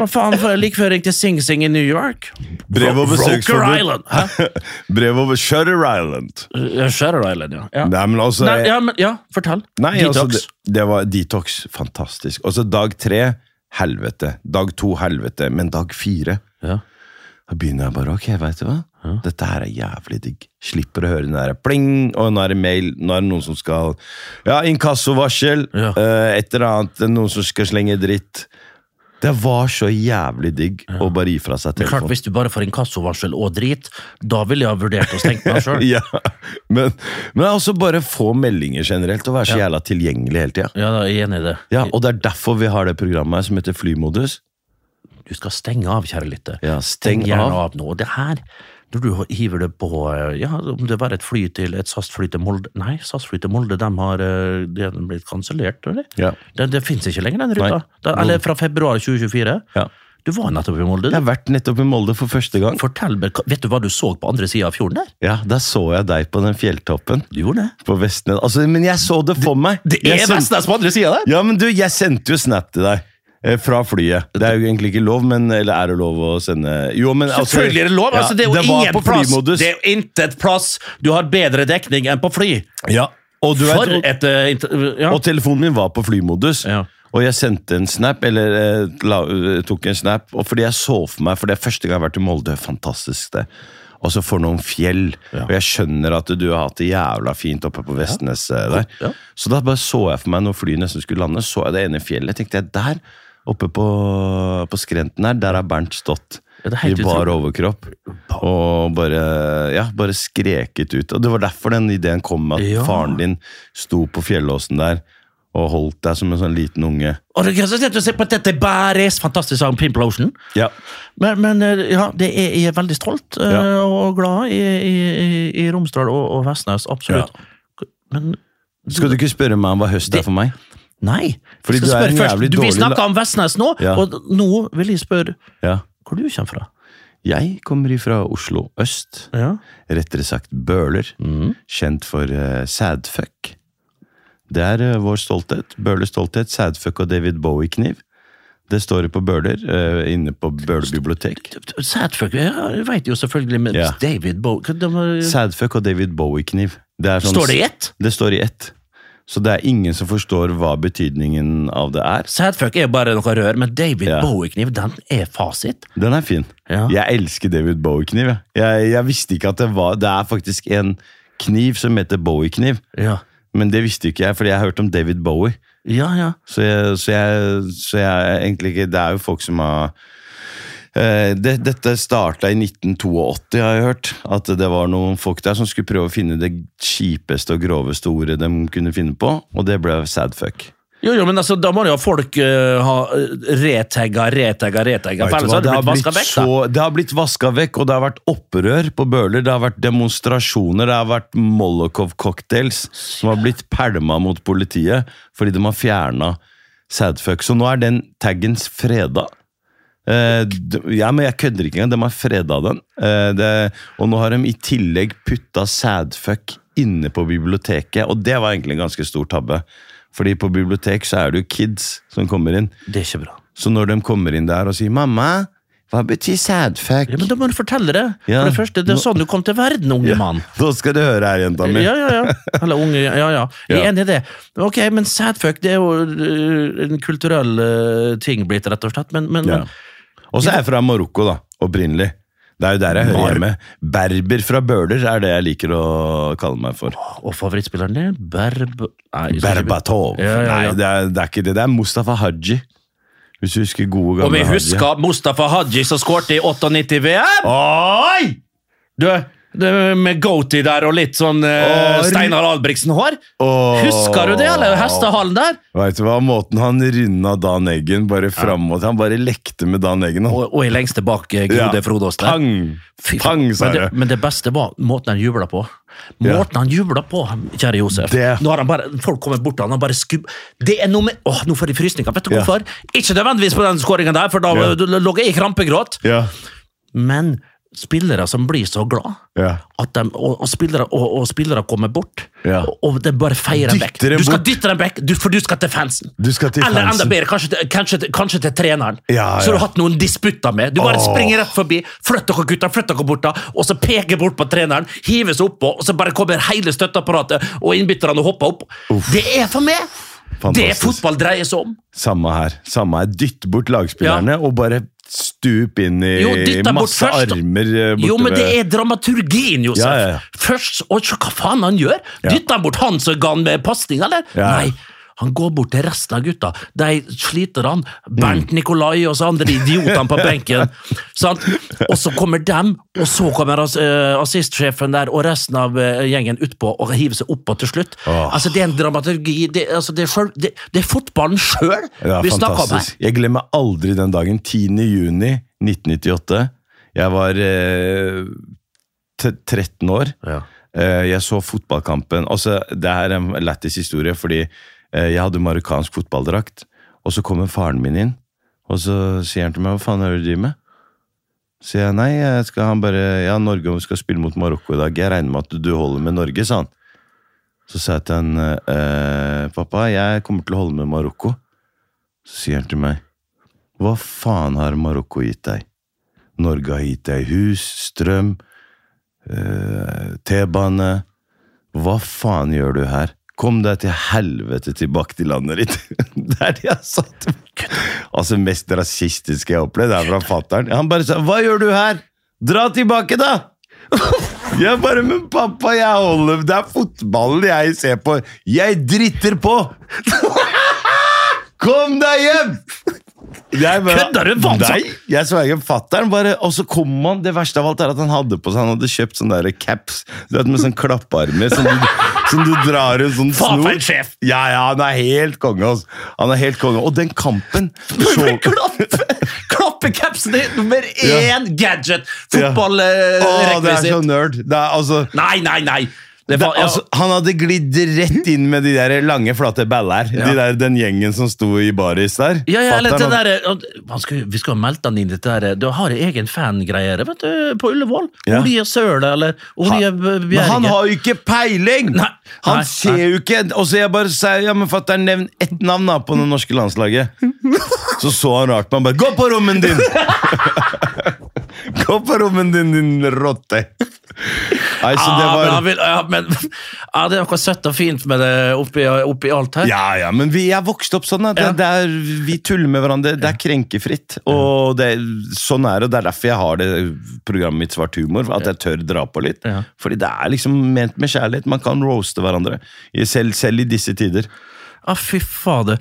S1: Hva faen, for jeg like før jeg ringte Sing Sing i New York.
S2: Brev og
S1: Ro- Roker
S2: besøksforbud.
S1: Island. Hæ?
S2: Brev over Shutter Island.
S1: Ja, Shutter Island, ja. ja.
S2: Nei, men altså
S1: Nei, ja, men, ja, fortell.
S2: Nei,
S1: Detox.
S2: altså, det, det var detox. Fantastisk. Og så dag tre, helvete. Dag to, helvete. Men dag fire
S1: Ja.
S2: Da begynner jeg bare, ok, vet du hva? Dette her er jævlig digg. Slipper å høre den der pling, og nå er det mail, nå er det noen som skal Ja, inkassovarsel,
S1: Ja.
S2: eh, et eller annet, noen som skal slenge dritt. Det var så jævlig digg å bare gi fra seg
S1: Men klart,
S2: telefonen.
S1: Hvis du bare får inkassovarsel og drit, da ville jeg ha vurdert å stenge meg sjøl.
S2: Ja, men, men også bare få meldinger generelt, og være så jævla tilgjengelig hele tida.
S1: Ja, da, jeg er enig i det.
S2: Ja, og det er derfor vi har det programmet her som heter Flymodus.
S1: Du skal stenge av, kjære lytter.
S2: Ja,
S1: Steng
S2: steng
S1: gjerne
S2: av.
S1: av. nå. Og det her, når du hiver det på eh, ja, Om det var et fly til et SAS-fly til Molde Nei, SAS-fly til Molde de har eh, de har blitt kansellert, eller?
S2: Ja.
S1: Det, det fins ikke lenger, den ruta.
S2: Nei.
S1: Da, eller fra februar 2024.
S2: Ja.
S1: Du var nettopp i Molde.
S2: Jeg
S1: du.
S2: har vært nettopp i Molde for første gang.
S1: Fortell meg, hva- Vet du hva du så på andre sida av fjorden der?
S2: Ja, Der så jeg deg på den fjelltoppen
S1: Du gjorde det.
S2: på Vestnes. Altså, men jeg så det for meg! Jeg sendte-
S1: Vestnes på andre sida der!
S2: Ja, men du, jeg sendte jo snap til deg. eh, Fra flyet. Det er jo egentlig ikke lov, men Eller er det lov å sende Jo, men altså-
S1: Selvfølgelig er det lov! altså,
S2: Ja,
S1: det er jo
S2: var
S1: ingen
S2: på
S1: plass!
S2: flymodus.
S1: Det er jo intet plass! Du har bedre dekning enn på fly!
S2: Ja. Og, du
S1: For
S2: vet,
S1: et eh, inter- ja.
S2: og telefonen min var på flymodus.
S1: Ja.
S2: Og jeg sendte en snap, eller eh, la, eh, tok en snap, og fordi jeg så for meg For det er første gang jeg har vært i Molde. Fantastisk, det. Og så for noen fjell. Og jeg skjønner at du har hatt det jævla fint oppe på Vestnes eh, der.
S1: Ja.
S2: Så da bare så jeg for meg når flyet nesten skulle lande, så jeg det ene fjellet. tenkte jeg, der oppe på, på skrenten her, der har Bernt stått.
S1: Ja, det er
S2: I
S1: helt
S2: bar
S1: utrolig.
S2: overkropp. Og bare, ja, bare skreket ut. Og det var derfor den ideen kom, at
S1: Ja.
S2: faren din sto på fjellåsen der og holdt deg som en sånn liten unge.
S1: Og det er så sett å se på at dette er Bæres fantastisk sang, Pimplotion.
S2: Ja.
S1: Men, men eh, ja, det er, jeg er veldig stolt eh,
S2: Ja.
S1: og glad i, i, i- i Romsdal og, og Vestnes, absolutt. Men
S2: Skal du ikke spørre meg om hva høst er for meg?
S1: nei. Jeg skal
S2: Fordi du er
S1: spørre
S2: en
S1: først.
S2: jævlig
S1: Du, Vi
S2: dårlig la-
S1: snakker om Vestnes nå,
S2: Ja.
S1: og nå vil jeg spørre
S2: Ja.
S1: hvor du kommer fra.
S2: Jeg kommer ifra Oslo øst.
S1: Ja.
S2: Rettere sagt Bøler.
S1: Mm.
S2: Kjent for eh, sædfuck. Det er eh, vår stolthet. Bøhlers stolthet. Sædfuck og David Bowie-kniv. Det står jo på Bøler, eh, inne på Bøler bibliotek.
S1: Sadfuck ja, Jeg vet jo selvfølgelig med
S2: Ja.
S1: David Boe hva de,
S2: Sadfuck og David Bowie-kniv. Det er sånn-
S1: Står det i ett?
S2: Det står i ett. Så det er ingen som forstår hva betydningen av det er.
S1: Sadfuck er bare noe rør, men David
S2: Ja.
S1: Bowie-kniv, den er fasit.
S2: Den er fin.
S1: Ja.
S2: Jeg elsker David Bowie-kniv. Jeg. Jeg, jeg visste ikke at det var Det er faktisk en kniv som heter Bowie-kniv.
S1: Ja,
S2: Men det visste ikke jeg, fordi jeg har hørt om David Bowie.
S1: ja. ja.
S2: Så jeg, så jeg, så jeg er egentlig ikke Det er jo folk som har eh, det, Dette starta i 1982, har jeg hørt. At det var noen folk der som skulle prøve å finne det kjipeste og groveste ordet de kunne finne på, og det ble sadfuck.
S1: Jo, jo, men altså, da må jo folk eh, ha retagga, retagga, retagga. for
S2: Vet du
S1: Ellers har sånn, det
S2: hva,
S1: blitt vaska vekk.
S2: så, det har blitt vaska vekk, og det har vært opprør på Bøler. Det har vært demonstrasjoner, det har vært Molotov-cocktails som har blitt pælma mot politiet fordi de har fjerna sadfuck. Så nå er den taggens freda. Eh, d- ja, men jeg kødder ikke engang. De har freda den. Eh, det, og nå har de i tillegg putta sadfuck inne på biblioteket, og det var egentlig en ganske stor tabbe. Fordi på bibliotek så er det jo kids som kommer inn.
S1: da. Det er ikke bra.
S2: Så når de kommer inn der og sier 'mamma, hva betyr sadfuck?'
S1: Ja, men da må du fortelle det.
S2: Ja.
S1: For det første, det er sånn du kom til verden, unge mann.
S2: Nå skal du høre her, jenta mi.
S1: Ja, ja, ja. Eller unge, ja, ja. Jeg er
S2: Ja.
S1: enig i det. Ok, men sadfuck, det er jo øh, en kulturell øh, ting blitt, rett og slett. Men, men,
S2: Ja. Og så er jeg fra Marokko, da. Opprinnelig. Det er jo der jeg hører hjemme. Berber fra Bøler er det jeg liker å kalle meg for.
S1: men Og favorittspilleren din? Berb... Nei, jeg skal ikke-
S2: Berbatov.
S1: Ja, ja, ja.
S2: Nei, det er, det er ikke det. Det er Mustafa Haji. Hvis du husker gode
S1: Om
S2: gamle
S1: jeg husker Mustafa Haji som skårte i 98 VM!
S2: Oi!
S1: Du, det med goatee der og litt sånn eh,
S2: Åh, ru-
S1: Steinar Albrigtsen-hår.
S2: Åh.
S1: Husker du det, eller hestehallen der?
S2: Vet du hva, Måten han runda Dan Eggen bare fram og til Han bare lekte med Dan Eggen. Han.
S1: Og, og i lengst tilbake,
S2: Ja.
S1: Gode Frodås der.
S2: Pang!
S1: Fy faen.
S2: Pang, sa
S1: men, det,
S2: du.
S1: men det beste var måten han jubla på. Måten han jubla på, kjære Josef.
S2: Det-
S1: Nå har han bare, Folk kommer bort til han, han bare skubb... Det er noe med Åh, nå får jeg frysninger. Vet du
S2: Ja.
S1: hvorfor? Ikke nødvendigvis på den skåringen der, for da
S2: Ja.
S1: du- lå jeg i krampegråt.
S2: Ja,
S1: Men spillere som blir så glad
S2: ja.
S1: at de, og, og, spillere, og, og spillere kommer bort,
S2: Ja.
S1: og, og det bare feier dem vekk.
S2: Dytter dem
S1: Du skal
S2: bort.
S1: dytte dem vekk, du, for du skal til fansen.
S2: Du skal til
S1: Eller enda
S2: fansen.
S1: bedre, kanskje til, kanskje, til- kanskje til treneren.
S2: Ja,
S1: Så du
S2: ja.
S1: har hatt noen disputter med. Du bare
S2: Åh.
S1: springer rett forbi, flytt dere gutta, flytt dere bort da, og så peker bort på treneren, hives oppå, og så bare kommer hele støtteapparatet og innbytterne og hopper opp. Det er for meg! Det
S2: Fantastisk.
S1: fotball dreier seg om.
S2: Samme her. Samme her. Dytt bort lagspillerne og bare stup inn i
S1: Jo, dytt deg bort
S2: masse
S1: først, da.
S2: armer eh, borte
S1: Jo, men det
S2: ved-
S1: er dramaturgien, Josef.
S2: Ja, ja, ja.
S1: Først, og se hva faen han gjør.
S2: Ja.
S1: Dytter han bort han som ga han med pasning, eller?
S2: Ja.
S1: Nei. Han går bort til resten av gutta. De sliter han.
S2: Mm.
S1: Bernt Nikolai og så andre idiotene på benken. sant? Og så kommer dem, og så kommer ass- eh, assistsjefen der og resten av eh, gjengen utpå og hiver seg oppå til slutt.
S2: Åh.
S1: Altså, Det er en dramaturgi. Det, altså, det, er, selv, det, det er fotballen sjøl
S2: Ja,
S1: vi snakker om her.
S2: fantastisk. Jeg glemmer aldri den dagen. 10. juni 1998. Jeg var eh, t- 13 år.
S1: Ja.
S2: Eh, jeg så fotballkampen. Altså, det er en lættis historie, fordi eh, jeg hadde marokkansk fotballdrakt. Og så kommer faren min inn, og så sier han til meg 'hva faen er det du driver med'? Så jeg nei, jeg skal, han bare, ja, Norge skal spille mot Marokko i dag. Jeg regner med at du holder med Norge, sa han. Så sa jeg til han, eh, pappa, jeg kommer til å holde med Marokko. Så sier han til meg, hva faen har Marokko gitt deg? Norge har gitt deg hus, strøm, eh, T-bane. Hva faen gjør du her? Kom deg til helvete tilbake til landet ditt. Det er det jeg sa til meg. Altså, mest rasistiske jeg har opplevd, er fra fattern. Han bare sa 'Hva gjør du her? Dra tilbake, da!' Jeg bare 'Men pappa, jeg holder Det er fotballen jeg ser på. Jeg dritter på! Kom deg hjem! Jeg bare-
S1: Kødder du? Hva sa-
S2: Nei, jeg sverger. Fattern bare Og så kom han. Det verste av alt er at han hadde på seg Han hadde kjøpt sånne der caps Du vet, med sånn klapparmer som du, som du drar en sånn
S1: Faen for
S2: snor.
S1: en sjef!
S2: Ja, ja, han er helt konge, altså. Han er helt konge. Og den kampen så...
S1: Men klappe, klappe capsen er nummer
S2: Ja.
S1: én gadget!
S2: Å, det er så
S1: Fotballrekvisitt.
S2: nerd. Det er, altså,
S1: Nei, nei, nei! Det
S2: det,
S1: er fa- ja.
S2: altså, han hadde glidd rett inn med de der lange, flate baller.
S1: Ja.
S2: De der, den gjengen som sto i baris der.
S1: ja, ja, eller det
S2: Fatteren
S1: der, han skal, vi skal jo melde han inn i dette der. Du har en egen fangreier vet du, på Ullevål.
S2: Ja.
S1: Olje Søle eller Olje Bjerge.
S2: Men han har jo ikke peiling!
S1: Nei,
S2: han
S1: nei,
S2: ser jo ikke Og så jeg bare sier ja, men fatter'n, nevn ett navn da på det norske landslaget. Så så han rart på meg og bare 'Gå på rommet din!' Gå på rommet din, din rotte! Nei, så det
S1: Ja, men, han
S2: var
S1: vil, ja, men ja, det er noe søtt og fint med det oppi, oppi alt her.
S2: Ja, ja, men vi, jeg vokste opp sånn. At det, det er, vi tuller med hverandre. Det er krenkefritt. Og det, sånn er det. Det er derfor jeg har det programmet mitt Svart humor. At jeg tør dra på litt.
S1: Ja.
S2: Fordi det er liksom ment med kjærlighet. Man kan roaste hverandre. Selv, selv i disse tider.
S1: Ja, Ah, fy fader.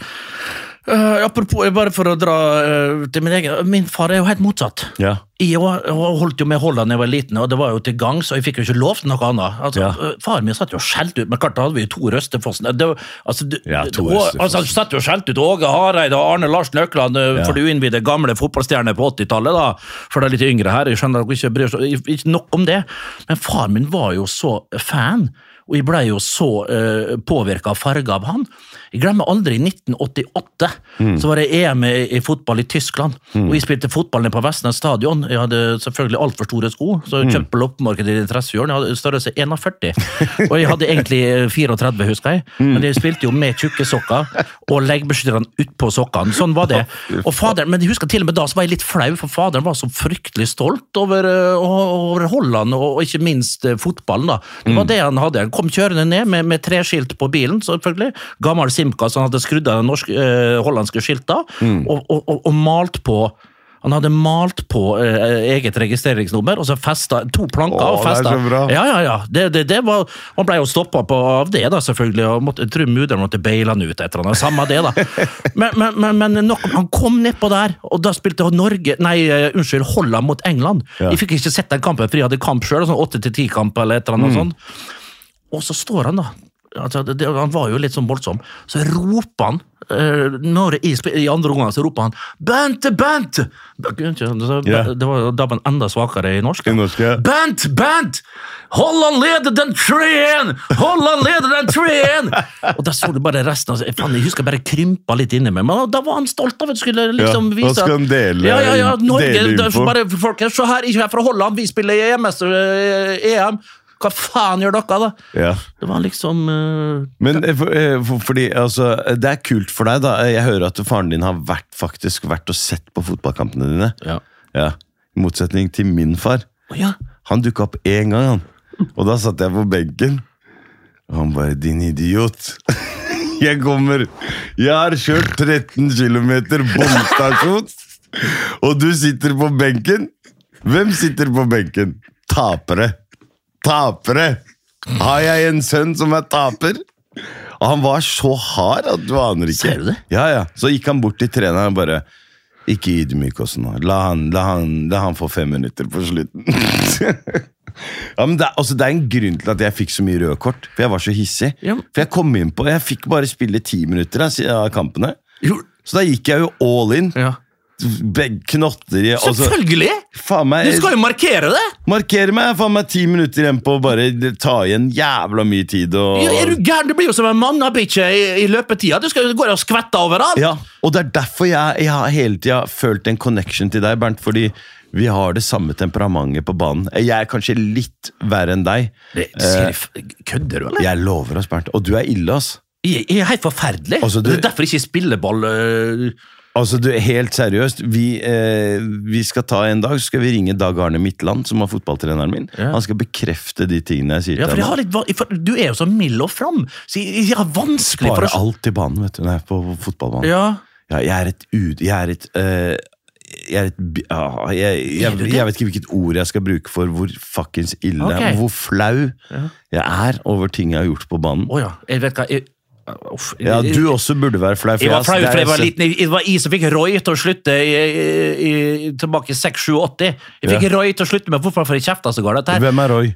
S1: Eh, apropos, bare for å dra eh, til min egen Min far er jo helt motsatt.
S2: Ja.
S1: Jeg var- holdt jo med Holland da jeg var liten, og det var jo til gangs, og jeg fikk jo ikke lov til noe annet. Altså,
S2: Ja.
S1: eh, Faren min satt jo og skjelte ut, men klart da hadde vi jo to røster for oss. Det var- Altså, du-
S2: Ja, to
S1: det- og-
S2: røster for
S1: altså, han satt jo og skjelte ut Åge Hareide og Arne Larsen Økland, eh,
S2: Ja.
S1: for du innvidde gamle fotballstjerner på 80-tallet, da, for de litt yngre her. Jeg skjønner at dere ikke bryr seg ikke nok om det, men faren min var jo så fan. Og jeg ble jo så uh, påvirka av farge av han. Jeg glemmer aldri i 1988.
S2: Mm.
S1: Så var det EM i, i fotball i Tyskland. Og jeg spilte fotball nede på Vestnes stadion. Jeg hadde selvfølgelig altfor store sko, så
S2: Mm.
S1: jeg kjøpte på loppemarkedet i Dressfjorden. Jeg hadde størrelse 41. Og jeg hadde egentlig eh, 34, husker jeg.
S2: Mm.
S1: Men jeg spilte jo med tjukke sokker og leggbeskytterne utpå sokkene. Sånn var det. Og faderen, men jeg husker til og med da så var jeg litt flau, for faderen var så fryktelig stolt over, eh, over Holland, og og ikke minst eh, fotballen. da. Det
S2: Mm.
S1: var det han hadde. Han kom kjørende ned med, med treskilt på bilen, selvfølgelig. Gammel Simca som hadde skrudd av de norske, eh, hollandske skilta,
S2: Mm.
S1: og, og, og, og malt på han hadde malt på eh, eget registreringsnummer, og så festa to planker.
S2: Åh,
S1: og
S2: det er
S1: festa.
S2: så bra.
S1: Ja, ja, ja. Det, det, det var, han ble jo stoppa av det, da, selvfølgelig. og måtte, Jeg tror mudder'n måtte beile han ut etter han. og Samme det, da. Men, men, men, men nok, han kom nedpå der, og da spilte Norge Nei, eh, unnskyld, Holland mot England.
S2: Ja.
S1: Jeg fikk ikke sett den kampen, for jeg hadde kamp sjøl. Sånn åtte til ti-kamp eller et eller
S2: Mm.
S1: annet. sånn. Og så står han, da. Altså, det, det- han var jo litt sånn voldsom. Så roper han eh, når jeg, sp- I andre omgang så roper han 'Bente, Bente!' Så,
S2: Ja.
S1: Det var jo da man enda svakere i norsk.
S2: I norsk, ja.
S1: Bent, Bent! Holland leder den 3-1! Holland leder den 3-1! Og da så du bare resten. Altså, faen, jeg husker jeg bare krympa litt inni meg. Men da var han stolt av at skulle liksom
S2: Ja, da
S1: vise at-
S2: skal han dele-
S1: Ja, ja, ja, Norge,
S2: dele
S1: da-
S2: info.
S1: Bare, folkens, se her, ikke jeg er fra Holland, vi spiller i EMS, eh, EM. Hva faen gjør dere, da?
S2: Ja.
S1: Det var liksom eh,
S2: Men eh, for, eh, for, fordi, altså, det er kult for deg, da. Jeg hører at faren din har vært, faktisk vært og sett på fotballkampene dine.
S1: Ja.
S2: Ja. I motsetning til min far.
S1: ja.
S2: Han dukka opp én gang, han. Og da satt jeg på benken. Og han bare 'din idiot'. Jeg kommer. Jeg har kjørt 13 km bomstasjon, og du sitter på benken. Hvem sitter på benken? Tapere. Tapere! Har jeg en sønn som er taper? Og han var så hard at du aner ikke.
S1: Ser du det?
S2: Ja, ja. Så gikk han bort til treneren og bare Ikke ydmyk oss nå. La han, la, han, la han få fem minutter på slutten. Ja, men det, er- altså, det er en grunn til at jeg fikk så mye røde kort, for jeg var så hissig.
S1: Ja.
S2: For jeg kom inn på, jeg fikk bare spille ti minutter da, siden av kampene.
S1: Jo,
S2: Så da gikk jeg jo all in.
S1: ja.
S2: Begge knotter i og så-
S1: Selvfølgelig!
S2: Faen
S1: Du
S2: meg,
S1: skal jo markere det!
S2: markere meg, faen meg ti minutter igjen på å bare ta igjen jævla mye tid. Og,
S1: Ja, Er du gæren? Du blir jo som en mannabikkje i, i løpetida. Du skal jo gå og skvette overalt!
S2: Ja, og det er derfor jeg, jeg har hele tida følt en connection til deg, Bernt. Fordi vi har det samme temperamentet på banen. Jeg er kanskje litt verre enn deg. Eh,
S1: Det, sier jeg f- kødder du, eller?
S2: Jeg lover oss, Bernt. Og du er ille, ass.
S1: Jeg jeg er helt forferdelig.
S2: Altså, du-
S1: Det er derfor jeg ikke spiller ball. øh.
S2: Altså, du, helt seriøst, vi, eh, vi skal ta en dag, så skal vi ringe Dag Arne Midtland, som var fotballtreneren min.
S1: Ja.
S2: Han skal bekrefte de tingene jeg sier
S1: Ja, for
S2: til
S1: jeg har
S2: ham.
S1: litt, va- for du er jo så mild og fram, så jeg, jeg har vanskelig for å
S2: Bare
S1: skj-
S2: alt i banen, vet du. Nei, på fotballbanen.
S1: Ja.
S2: Ja, jeg er et ud... Jeg er et eh, jeg, er et, bi- ah, jeg,
S1: Er
S2: jeg,
S1: du det?
S2: jeg vet ikke hvilket ord jeg skal bruke for hvor fuckings ille
S1: Ok.
S2: Hvor flau jeg er over ting jeg har gjort på banen.
S1: Å ja. Jeg vet hva jeg, Uff.
S2: Ja,
S1: jeg-
S2: Du også burde være flau. for
S1: jeg var
S2: jeg-
S1: flau
S2: det
S1: fordi
S2: er
S1: jeg
S2: jeg
S1: var
S2: sett-
S1: liten. Jeg- Det var jeg som fikk Roy til å slutte i, i, i, tilbake i 6-7-80. Jeg fikk Roy til å slutte med fotball, for jeg kjefta så galt. Dette her.
S2: Hvem er Roy?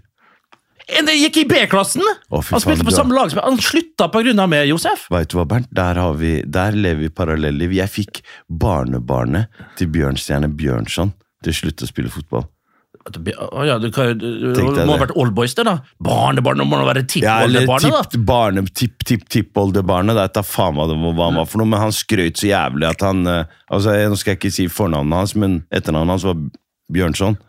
S1: En jeg gikk i B-klassen!
S2: Å, fy
S1: han
S2: faen,
S1: spilte på
S2: du er-
S1: samme lag som meg. Han slutta på grunn av meg, Josef.
S2: Vet du hva, Bernt? Der, har vi, der lever vi parallelliv. Jeg fikk barnebarnet til Bjørnstjerne Bjørnson til å slutte å spille fotball.
S1: Å ja, du, kan- du,
S2: Tenkte jeg
S1: må ha
S2: det.
S1: vært oldboys, det, da. Barnebarn, nå må du være
S2: Ja, eller
S1: tippoldebarnet, da.
S2: tipp, barne, tipp, tipp, tippoldebarnet. Det er faen meg hva han var for noe, men han skrøt så jævlig at han eh, Altså, jeg, Nå skal jeg ikke si fornavnet hans, men etternavnet hans var Bjørnson.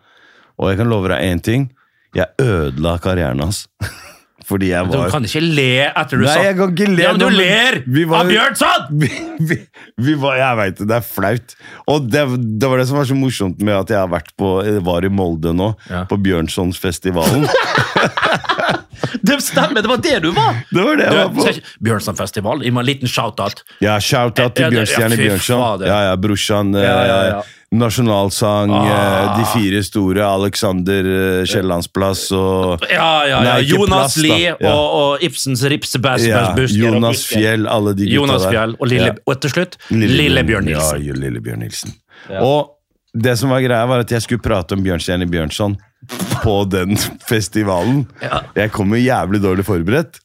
S2: Og jeg kan love deg én ting. Jeg ødela karrieren hans. Fordi jeg
S1: Du
S2: var
S1: kan ikke le etter du
S2: Nei,
S1: sa
S2: jeg kan ikke le
S1: Ja, men
S2: nå,
S1: du
S2: men
S1: ler
S2: vi var-
S1: av Bjørnson!
S2: vi, vi, vi var, Jeg veit det, det er flaut. Og det, det var det som var så morsomt med at jeg har vært på, var i Molde nå,
S1: Ja.
S2: på Bjørnsonsfestivalen.
S1: Det stemmer, det var det du var!
S2: Det var det jeg var
S1: Du,
S2: på.
S1: skal ikke- Bjørnsonfestival, gi meg en liten shout-out.
S2: Ja, shout-out
S1: Ja,
S2: til
S1: det-
S2: Bjørnstjerne
S1: ja, fy
S2: Bjørnson.
S1: fader.
S2: Ja, ja, brorsan. eh,
S1: Ja, ja, ja.
S2: Nasjonalsang,
S1: Ah.
S2: eh, De fire store, Alexander eh, Kiellandsplass og
S1: Ja, ja, ja.
S2: Nei, ikke
S1: Jonas
S2: plass, da.
S1: Lie og,
S2: Ja.
S1: og Ibsens Ripsebæsj
S2: ja, Jonas Fjell, alle de gutta
S1: Jonas
S2: der.
S1: Fjell og, lille,
S2: Ja.
S1: og til slutt Lillebjørn Nilsen.
S2: Ja, Lillebjørn Nilsen. Og det som var greia, var at jeg skulle prate om Bjørnstjerne Bjørnson på den festivalen.
S1: Ja.
S2: Jeg kom jo jævlig dårlig forberedt.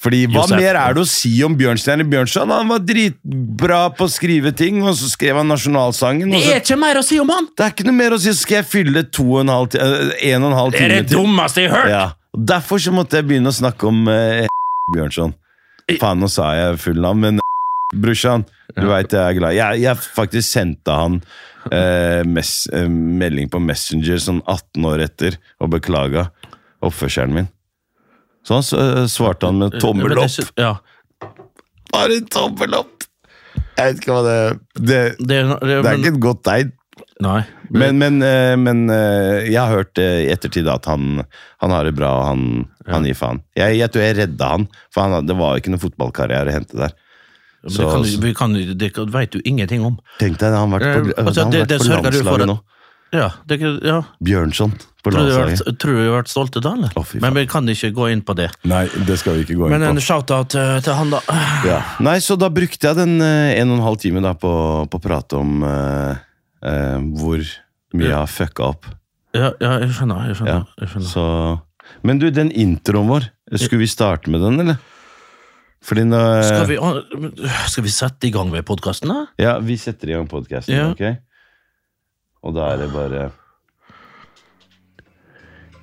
S2: Fordi Hva
S1: Josef.
S2: mer er det å si om Bjørnstjerne Bjørnson? Han var dritbra på å skrive ting, og så skrev han nasjonalsangen.
S1: Det
S2: Og så,
S1: er ikke mer å si om han!
S2: det er ikke noe mer å si, så skal jeg fylle to og en halv, ti- eh, en og en halv
S1: Det er
S2: time
S1: det dummeste jeg har hørt!
S2: Ja. Og Derfor så måtte jeg begynne å snakke om eh, Bjørnson. Faen, nå sa jeg full navn, men brorsan, du veit jeg er glad Jeg, jeg faktisk sendte han eh, mess, eh, melding på Messenger sånn 18 år etter og beklaga oppførselen min. Så han s- eh, svarte han med tommel
S1: Men det
S2: opp.
S1: sy- Ja.
S2: Bare en tommel opp! Jeg vet ikke hva det Det,
S1: Det, er- det,
S2: det er ikke et godt tegn.
S1: Nei.
S2: Men, men, eh, men eh, jeg har hørt eh, i ettertid at han, han har det bra, og han, han gir faen. Jeg, jeg tror jeg redda han, for han, hadde- det var ikke noen fotballkarriere å hente der.
S1: Men
S2: Så-
S1: det, kan, du- vi kan, det kan, vet du ingenting om.
S2: Tenk deg, han har vært på,
S1: Eh, altså,
S2: han har
S1: det-
S2: vært
S1: det
S2: på
S1: sørger du for
S2: landslaget
S1: at-
S2: nå.
S1: Ja, det, kan- ja.
S2: Bjørnson på
S1: Tror du vi har
S2: landslaget.
S1: vært- tror du vi har vært stolte da, eller?
S2: Å, fy faen.
S1: Men vi kan ikke gå inn på det.
S2: Nei, det skal vi ikke gå
S1: Men en shout-out eh, til han, da.
S2: Ja. Nei, så da brukte jeg den eh, en og en halv time da på, på å prate om eh, eh, hvor mye jeg har fucka opp.
S1: Ja, ja jeg skjønner. Jeg
S2: Ja,
S1: skjønner, jeg skjønner.
S2: så... Men du, den introen vår, skulle vi starte med den, eller? Fordi nå... eh,
S1: Skal, vi, å, skal vi sette i gang med podkasten, da?
S2: Ja, vi setter i gang podcasten,
S1: Ja.
S2: ok? Og da er det bare...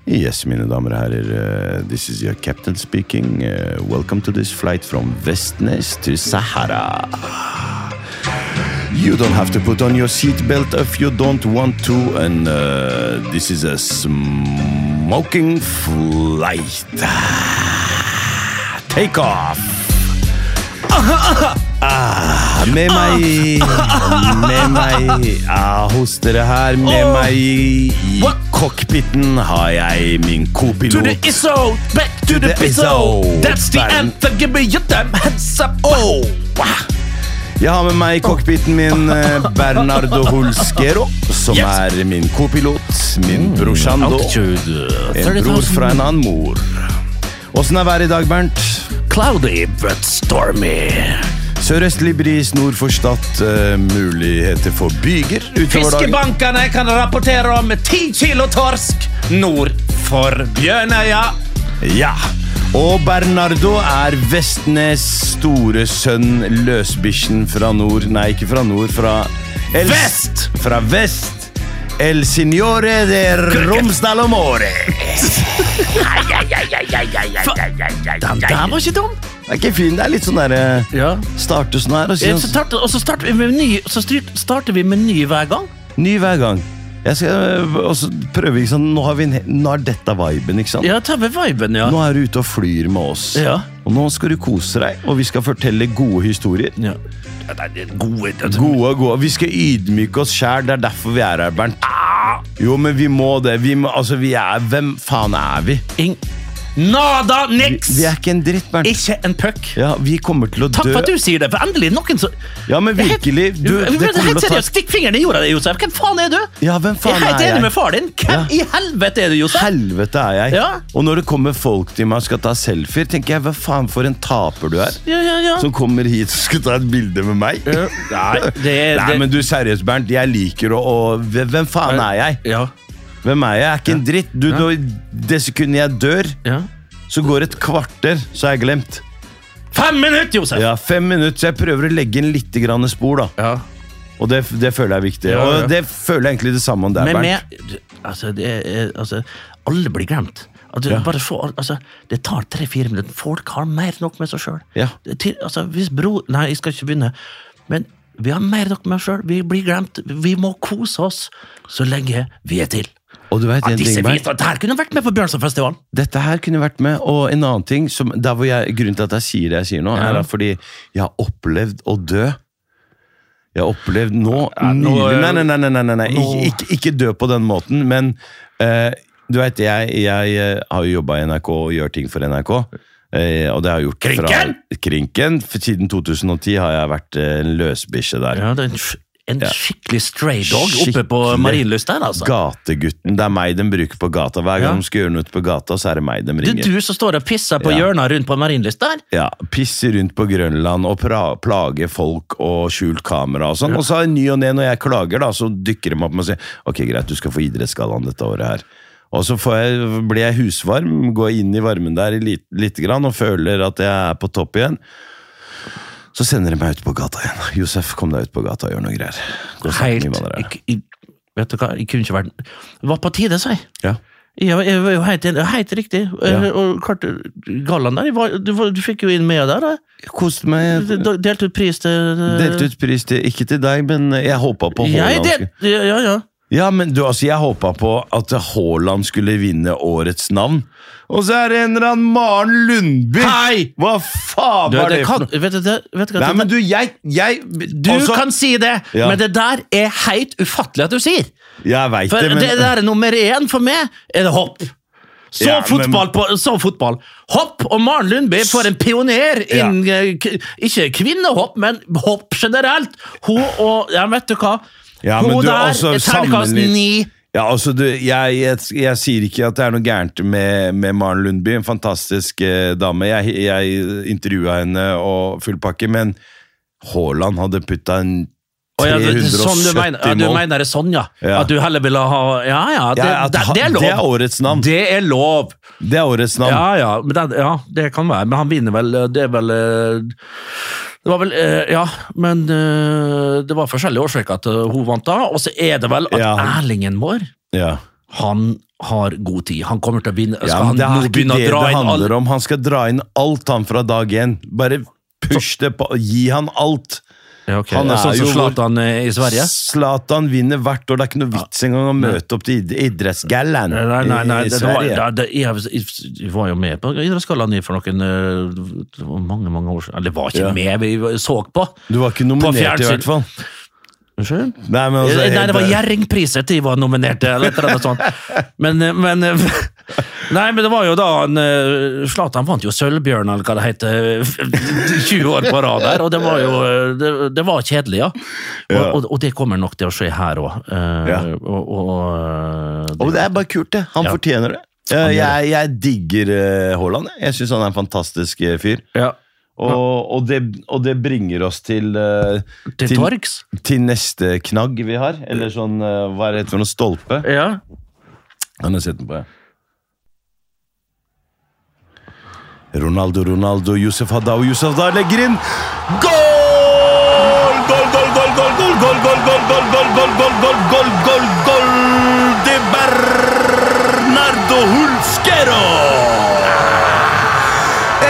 S2: Yes, mine damer og herrer, eh, this is your captain speaking. Eh, welcome to this flight from Vestnes to Sahara. You don't have to put on your seatbelt if you don't want to, and eh, this is a smoking flight. Take off! Ah, med meg Med meg ah, hos dere her, med
S1: Åh.
S2: meg i
S1: What?
S2: cockpiten har jeg min
S1: To the
S2: kopilot.
S1: ISO, back to the
S2: the
S1: pizzo.
S2: ISO.
S1: That's the
S2: Bang.
S1: anthem, give me your damn hands up. Oh.
S2: Jeg har med meg i cockpiten min eh, Bernardo Hulskero, som
S1: Yes. Mm.
S2: er min kopilot, min brorsando,
S1: Altitude
S2: en bror
S1: 30,000.
S2: fra en annen mor. Åssen er været i dag, Bernt?
S1: Cloudy but stormy.
S2: Sørøstlig bris nord for Stad. eh, muligheter for byger utover dagen.
S1: Fiskebankene kan rapportere om ti kilo torsk nord for Bjørnøya.
S2: Ja. Og Bernardo er Vestnes' store sønn, løsbikkjen fra nord Nei, ikke fra nord, fra El-
S1: Vest!
S2: Fra vest. El signore de Romsdal og Måre.
S1: Den var ikke dum.
S2: Det er ikke fin. Det er litt sånn derre
S1: Ja.
S2: Starte sånn her og si
S1: Eh, Så starter, og så starter vi med ny, så styrt- starter vi med ny hver gang.
S2: Ny hver gang. Jeg skal, øh, og så prøver vi, ikke sant? Nå har, vi en, he- nå har dette viben, ikke sant?
S1: Ja, tar vi viben, ja.
S2: Nå er du ute og flyr med oss.
S1: Ja.
S2: Og nå skal du kose deg, og vi skal fortelle gode historier.
S1: ja. Nei, det er gode, det-
S2: Gode, gode. Vi skal ydmyke oss sjæl. Det er derfor vi er her, Bernt.
S1: Ah!
S2: Jo, men vi må det. Vi må, altså, vi er Hvem faen er vi?
S1: Ing- Nada, niks!
S2: Vi er ikke en dritt, Bernt.
S1: Ikke en puck.
S2: Ja, vi kommer til å
S1: Takk
S2: dø.
S1: for at du sier det, for endelig noen som
S2: Ja, men virkelig. Du,
S1: Men
S2: det kommer
S1: helt
S2: til å ta
S1: seriøst, Stikk fingeren i jorda, di, Josef. Hvem faen er du?
S2: Ja, hvem
S1: Jeg
S2: faen
S1: er helt
S2: er
S1: enig
S2: jeg?
S1: med far din. Hvem i helvete er du, Josef?
S2: Helvete er jeg.
S1: Ja.
S2: Og når det kommer folk til meg og skal ta selfier, tenker jeg hva faen for en taper du er.
S1: Ja, ja, ja.
S2: Som kommer hit og skal ta et bilde med meg.
S1: Nei, det er
S2: Nei,
S1: det-
S2: men du seriøst, Bernt. Jeg liker å å- Hvem faen er jeg?
S1: Ja,
S2: Hvem er jeg? Jeg er ikke en dritt. Du, du, det sekundet jeg dør,
S1: ja.
S2: så går et kvarter, så er jeg glemt.
S1: Fem minutter, Josef!
S2: Ja, Fem minutter, så jeg prøver å legge inn litt grann spor, da.
S1: Ja.
S2: Og det, det føler jeg er viktig.
S1: Ja, ja.
S2: Og det føler jeg egentlig det samme om deg,
S1: Men
S2: Bernt.
S1: med Altså, det er Altså, alle blir glemt. At du bare så, altså, det tar tre-fire minutter. Folk har mer enn nok med seg sjøl.
S2: Ja.
S1: Altså, hvis bro Nei, jeg skal ikke begynne. Men vi har mer enn nok med oss sjøl. Vi blir glemt. Vi må kose oss så lenge vi er til.
S2: Og du vet
S1: At
S2: en
S1: disse
S2: ting, Bernt?
S1: vet at det her kunne vært med på Bjørnsonfestivalen!
S2: Dette her kunne vært med, og en annen ting som, der hvor jeg, Grunnen til at jeg sier det jeg sier nå, er
S1: Ja.
S2: at fordi jeg har opplevd å dø. Jeg har opplevd nå
S1: Ja, nå-
S2: nylig- Nei, nei, nei, nei, nei, nei, nei. Ikke,
S1: Nå-
S2: ikke, ikke dø på den måten, men eh, du vet, jeg, jeg eh, har jo jobba i NRK og gjør ting for NRK. eh, og det har jeg gjort
S1: Krinken?
S2: fra Krinken! For Siden 2010 har jeg vært eh, en løsbikkje der.
S1: Ja, det er en, sk- en
S2: Ja.
S1: skikkelig stray dog oppe på
S2: Skikkelig
S1: Marienlyst der, altså.
S2: Gategutten. Det er meg de bruker på gata. Hver gang
S1: Ja.
S2: de skal gjøre noe ute på gata, så er det meg de
S1: Det
S2: ringer.
S1: er du som står og pisser på
S2: Ja.
S1: hjørnet rundt på Marienlyst der!
S2: ja, pisser rundt på Grønland og pra plager folk og skjult kamera og sånn. Og så i ny og ne, når jeg klager, da, så dykker de opp med og sier ok, greit, du skal få Idrettsgallaen dette året her. Og så får jeg, blir jeg husvarm, går inn i varmen der litt, lite grann og føler at jeg er på topp igjen. Så sender de meg ut på gata igjen. Josef, kom deg ut på gata og gjør noe greier. Gå og snakk med
S1: Helt
S2: innvandrere.
S1: jeg, jeg, Vet du hva, jeg kunne ikke vært Det var på tide, sa jeg.
S2: Ja.
S1: Jeg var- jeg var jo helt, enig- helt riktig. Eh, Og klart, gallaen der jeg var, du, var- du fikk jo inn med der. da.
S2: Jeg koste meg.
S1: Du- du Delte ut pris til
S2: Delte ut pris til, ikke til deg, men jeg håpa på
S1: Jeg
S2: Haaland.
S1: del, ja, ja, ja.
S2: Ja, men du, altså, jeg håpa på at Haaland skulle vinne årets navn. Og så er det en eller annen Maren Lundby!
S1: Hei!
S2: Hva faen
S1: Du,
S2: var det,
S1: det
S2: for
S1: kan,
S2: noe?
S1: vet du, det, vet du, hva,
S2: Nei,
S1: det-
S2: men du, jeg, jeg
S1: du
S2: altså,
S1: kan si det,
S2: Ja.
S1: men det der er helt ufattelig at du sier.
S2: Jeg veit
S1: For
S2: det, men
S1: det der er nummer én for meg, er det hopp. Så,
S2: Ja, men-
S1: fotball på, så fotball. Hopp og Maren Lundby for en pioner
S2: Ja.
S1: innen eh, k- Ikke kvinnehopp, men hopp generelt. Hun og Ja, vet du hva?
S2: Ja, men
S1: Hun
S2: du,
S1: der
S2: altså,
S1: er terningkast
S2: sammenlign-
S1: ni.
S2: Ja, altså, du, jeg, jeg, jeg sier ikke at det er noe gærent med, med Maren Lundby, en fantastisk eh, dame. Jeg, jeg intervjua henne og full pakke, men Haaland hadde putta en
S1: Å, ja, det-
S2: 370
S1: sånn du mener, ja, du
S2: mål.
S1: mener det er sånn, ja.
S2: Ja.
S1: At du heller ville ha Ja, ja. Det,
S2: Ja, at
S1: det,
S2: han-
S1: det er
S2: det er
S1: lov.
S2: årets navn.
S1: Det er lov.
S2: Det er årets navn.
S1: Ja, ja, men den, ja, det kan være. Men han vinner vel eh, Det er vel eh, Det var vel eh, Ja, men eh, det var forskjellige årsaker at eh, hun vant da. Og så er det vel at
S2: Ja.
S1: Erlingen vår,
S2: Ja.
S1: han har god tid. Han kommer til å vinne. Skal
S2: Ja, men
S1: han
S2: det er
S1: nå
S2: ikke
S1: begynne
S2: det
S1: å dra
S2: det
S1: inn
S2: handler
S1: alle
S2: om. Han skal dra inn alt han fra dag én. Bare push det på. Gi han alt.
S1: ja, ok.
S2: Han er
S1: Sånn som
S2: jo vår-
S1: Zlatan eh, i Sverige?
S2: Zlatan vinner hvert år. Det er ikke noe vits engang å møte opp til id- idrettsgallaen
S1: Nei, nei, nei,
S2: i- i
S1: det, det, var,
S2: Sverige.
S1: det, det, jeg, jeg var jo med på Idrettsgallaen i for noen eh, det var mange mange år siden. Eller var ikke
S2: Ja.
S1: med, vi så på.
S2: Du var ikke nominert, i
S1: fjernsyn.
S2: hvert fall.
S1: Unnskyld?
S2: Nei, men altså,
S1: Nei, det var
S2: helt-
S1: Gjerringpriset de var nominert til, eller et eller annet sånt. Men, eh, men Nei, men det var jo da en, eh, Zlatan vant jo Sølvbjørn, eller hva det heter, 20 år på rad der, og det var jo eh, Det, det var kjedelig, ja. Og,
S2: Ja.
S1: og, og det kommer nok til å skje her òg.
S2: Ja.
S1: Og, og, eh,
S2: Og det er bare kult, det. Han
S1: Ja.
S2: fortjener det.
S1: gjør
S2: Jeg,
S1: det.
S2: jeg, jeg digger eh, Haaland. jeg. Jeg syns han er en fantastisk eh, fyr.
S1: ja,
S2: Og, og, det, og det bringer oss til eh,
S1: til
S2: til-
S1: torgs.
S2: til neste knagg vi har. Eller sånn, eh, hva er det for noe stolpe?
S1: Ja.
S2: Han har sett den på, ja. Ronaldo, Ronaldo, Youssef Hadao, Youssef Hadao legger inn! Goal! Goal, goal, goal, goal, goal, goal, goal, goal, goal, goal, goal, goal, goal, goal, goal, goal de Bernardo Hulskero!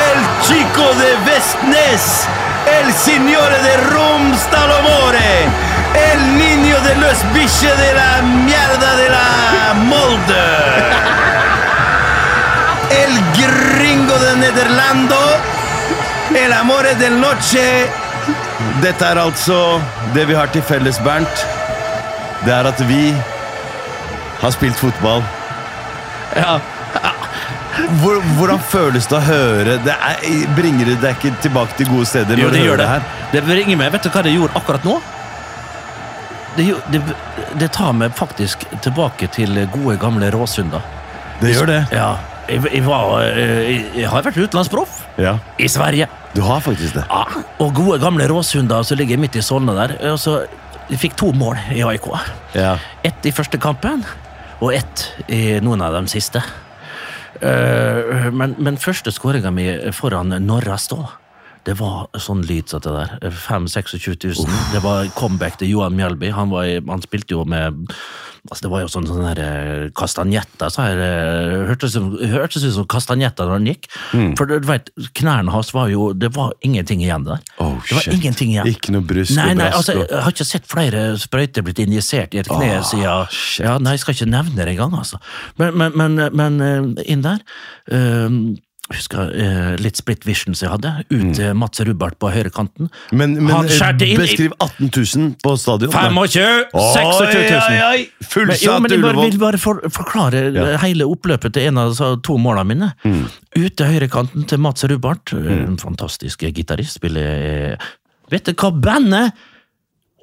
S2: El chico de Vestnes! El signore de Romsdalomore! El niño de los biche de la mierda de la Molde! El gringo de Nederlando. El amore del noche. Dette er altså det vi har til felles, Bernt. Det er at vi har spilt fotball.
S1: ja.
S2: Hvor, hvordan føles det å høre? Det er, bringer det deg ikke tilbake til gode steder?
S1: Jo,
S2: når
S1: det
S2: du hører
S1: gjør det.
S2: her?
S1: Det bringer meg Vet du hva det gjorde akkurat nå? Det, gjo- det, det tar meg faktisk tilbake til gode, gamle Råsunda.
S2: Det gjør det.
S1: Ja, jeg, jeg, var, eh, jeg, jeg har vært utenlandsproff
S2: Ja,
S1: i Sverige.
S2: du har faktisk det.
S1: Ja, og gode gamle Råsunda som ligger midt i Solna der. Eh, Og så jeg fikk to mål i AIK.
S2: Ja.
S1: Ett i første kampen, og ett i noen av de siste. Eh, men, men første skåringa mi foran Norra stå, det var sånn lyd som det der. 5 000-26 000. Det var comeback til Johan Mjelby. Han, var i, han spilte jo med Altså, det var jo sånn, sånn der, eh, kastanjetta, så her, eh, hørtes, som- hørtes ut som kastanjetta når han gikk.
S2: Mm.
S1: For du vet, knærne hans var jo Det var ingenting igjen der.
S2: Oh,
S1: det var
S2: shit.
S1: ingenting igjen.
S2: Ikke noe bryst
S1: Nei,
S2: og
S1: nei,
S2: brask
S1: altså,
S2: og-
S1: jeg har ikke sett flere sprøyter blitt injisert i et kne
S2: Åh,
S1: siden ja, Nei, jeg skal ikke nevne det engang, altså. Men, men, men, men eh, inn der eh, jeg husker eh, litt split visions jeg hadde. Ut til Mats Rubart på høyrekanten.
S2: Mm. Men, men eh,
S1: Han skjærte inn i-
S2: beskriv 18 000 på stadion.
S1: 25 000! Men,
S2: 26 000!
S1: jo,
S2: Fullsatt
S1: men jeg bare, vil
S2: Ullevål.
S1: bare for, forklare
S2: Ja. Mm.
S1: hele oppløpet til en av de to målene mine. Ut til høyrekanten til Mats Rubart, eh, en fantastisk gitarist, spiller Vet du hva bandet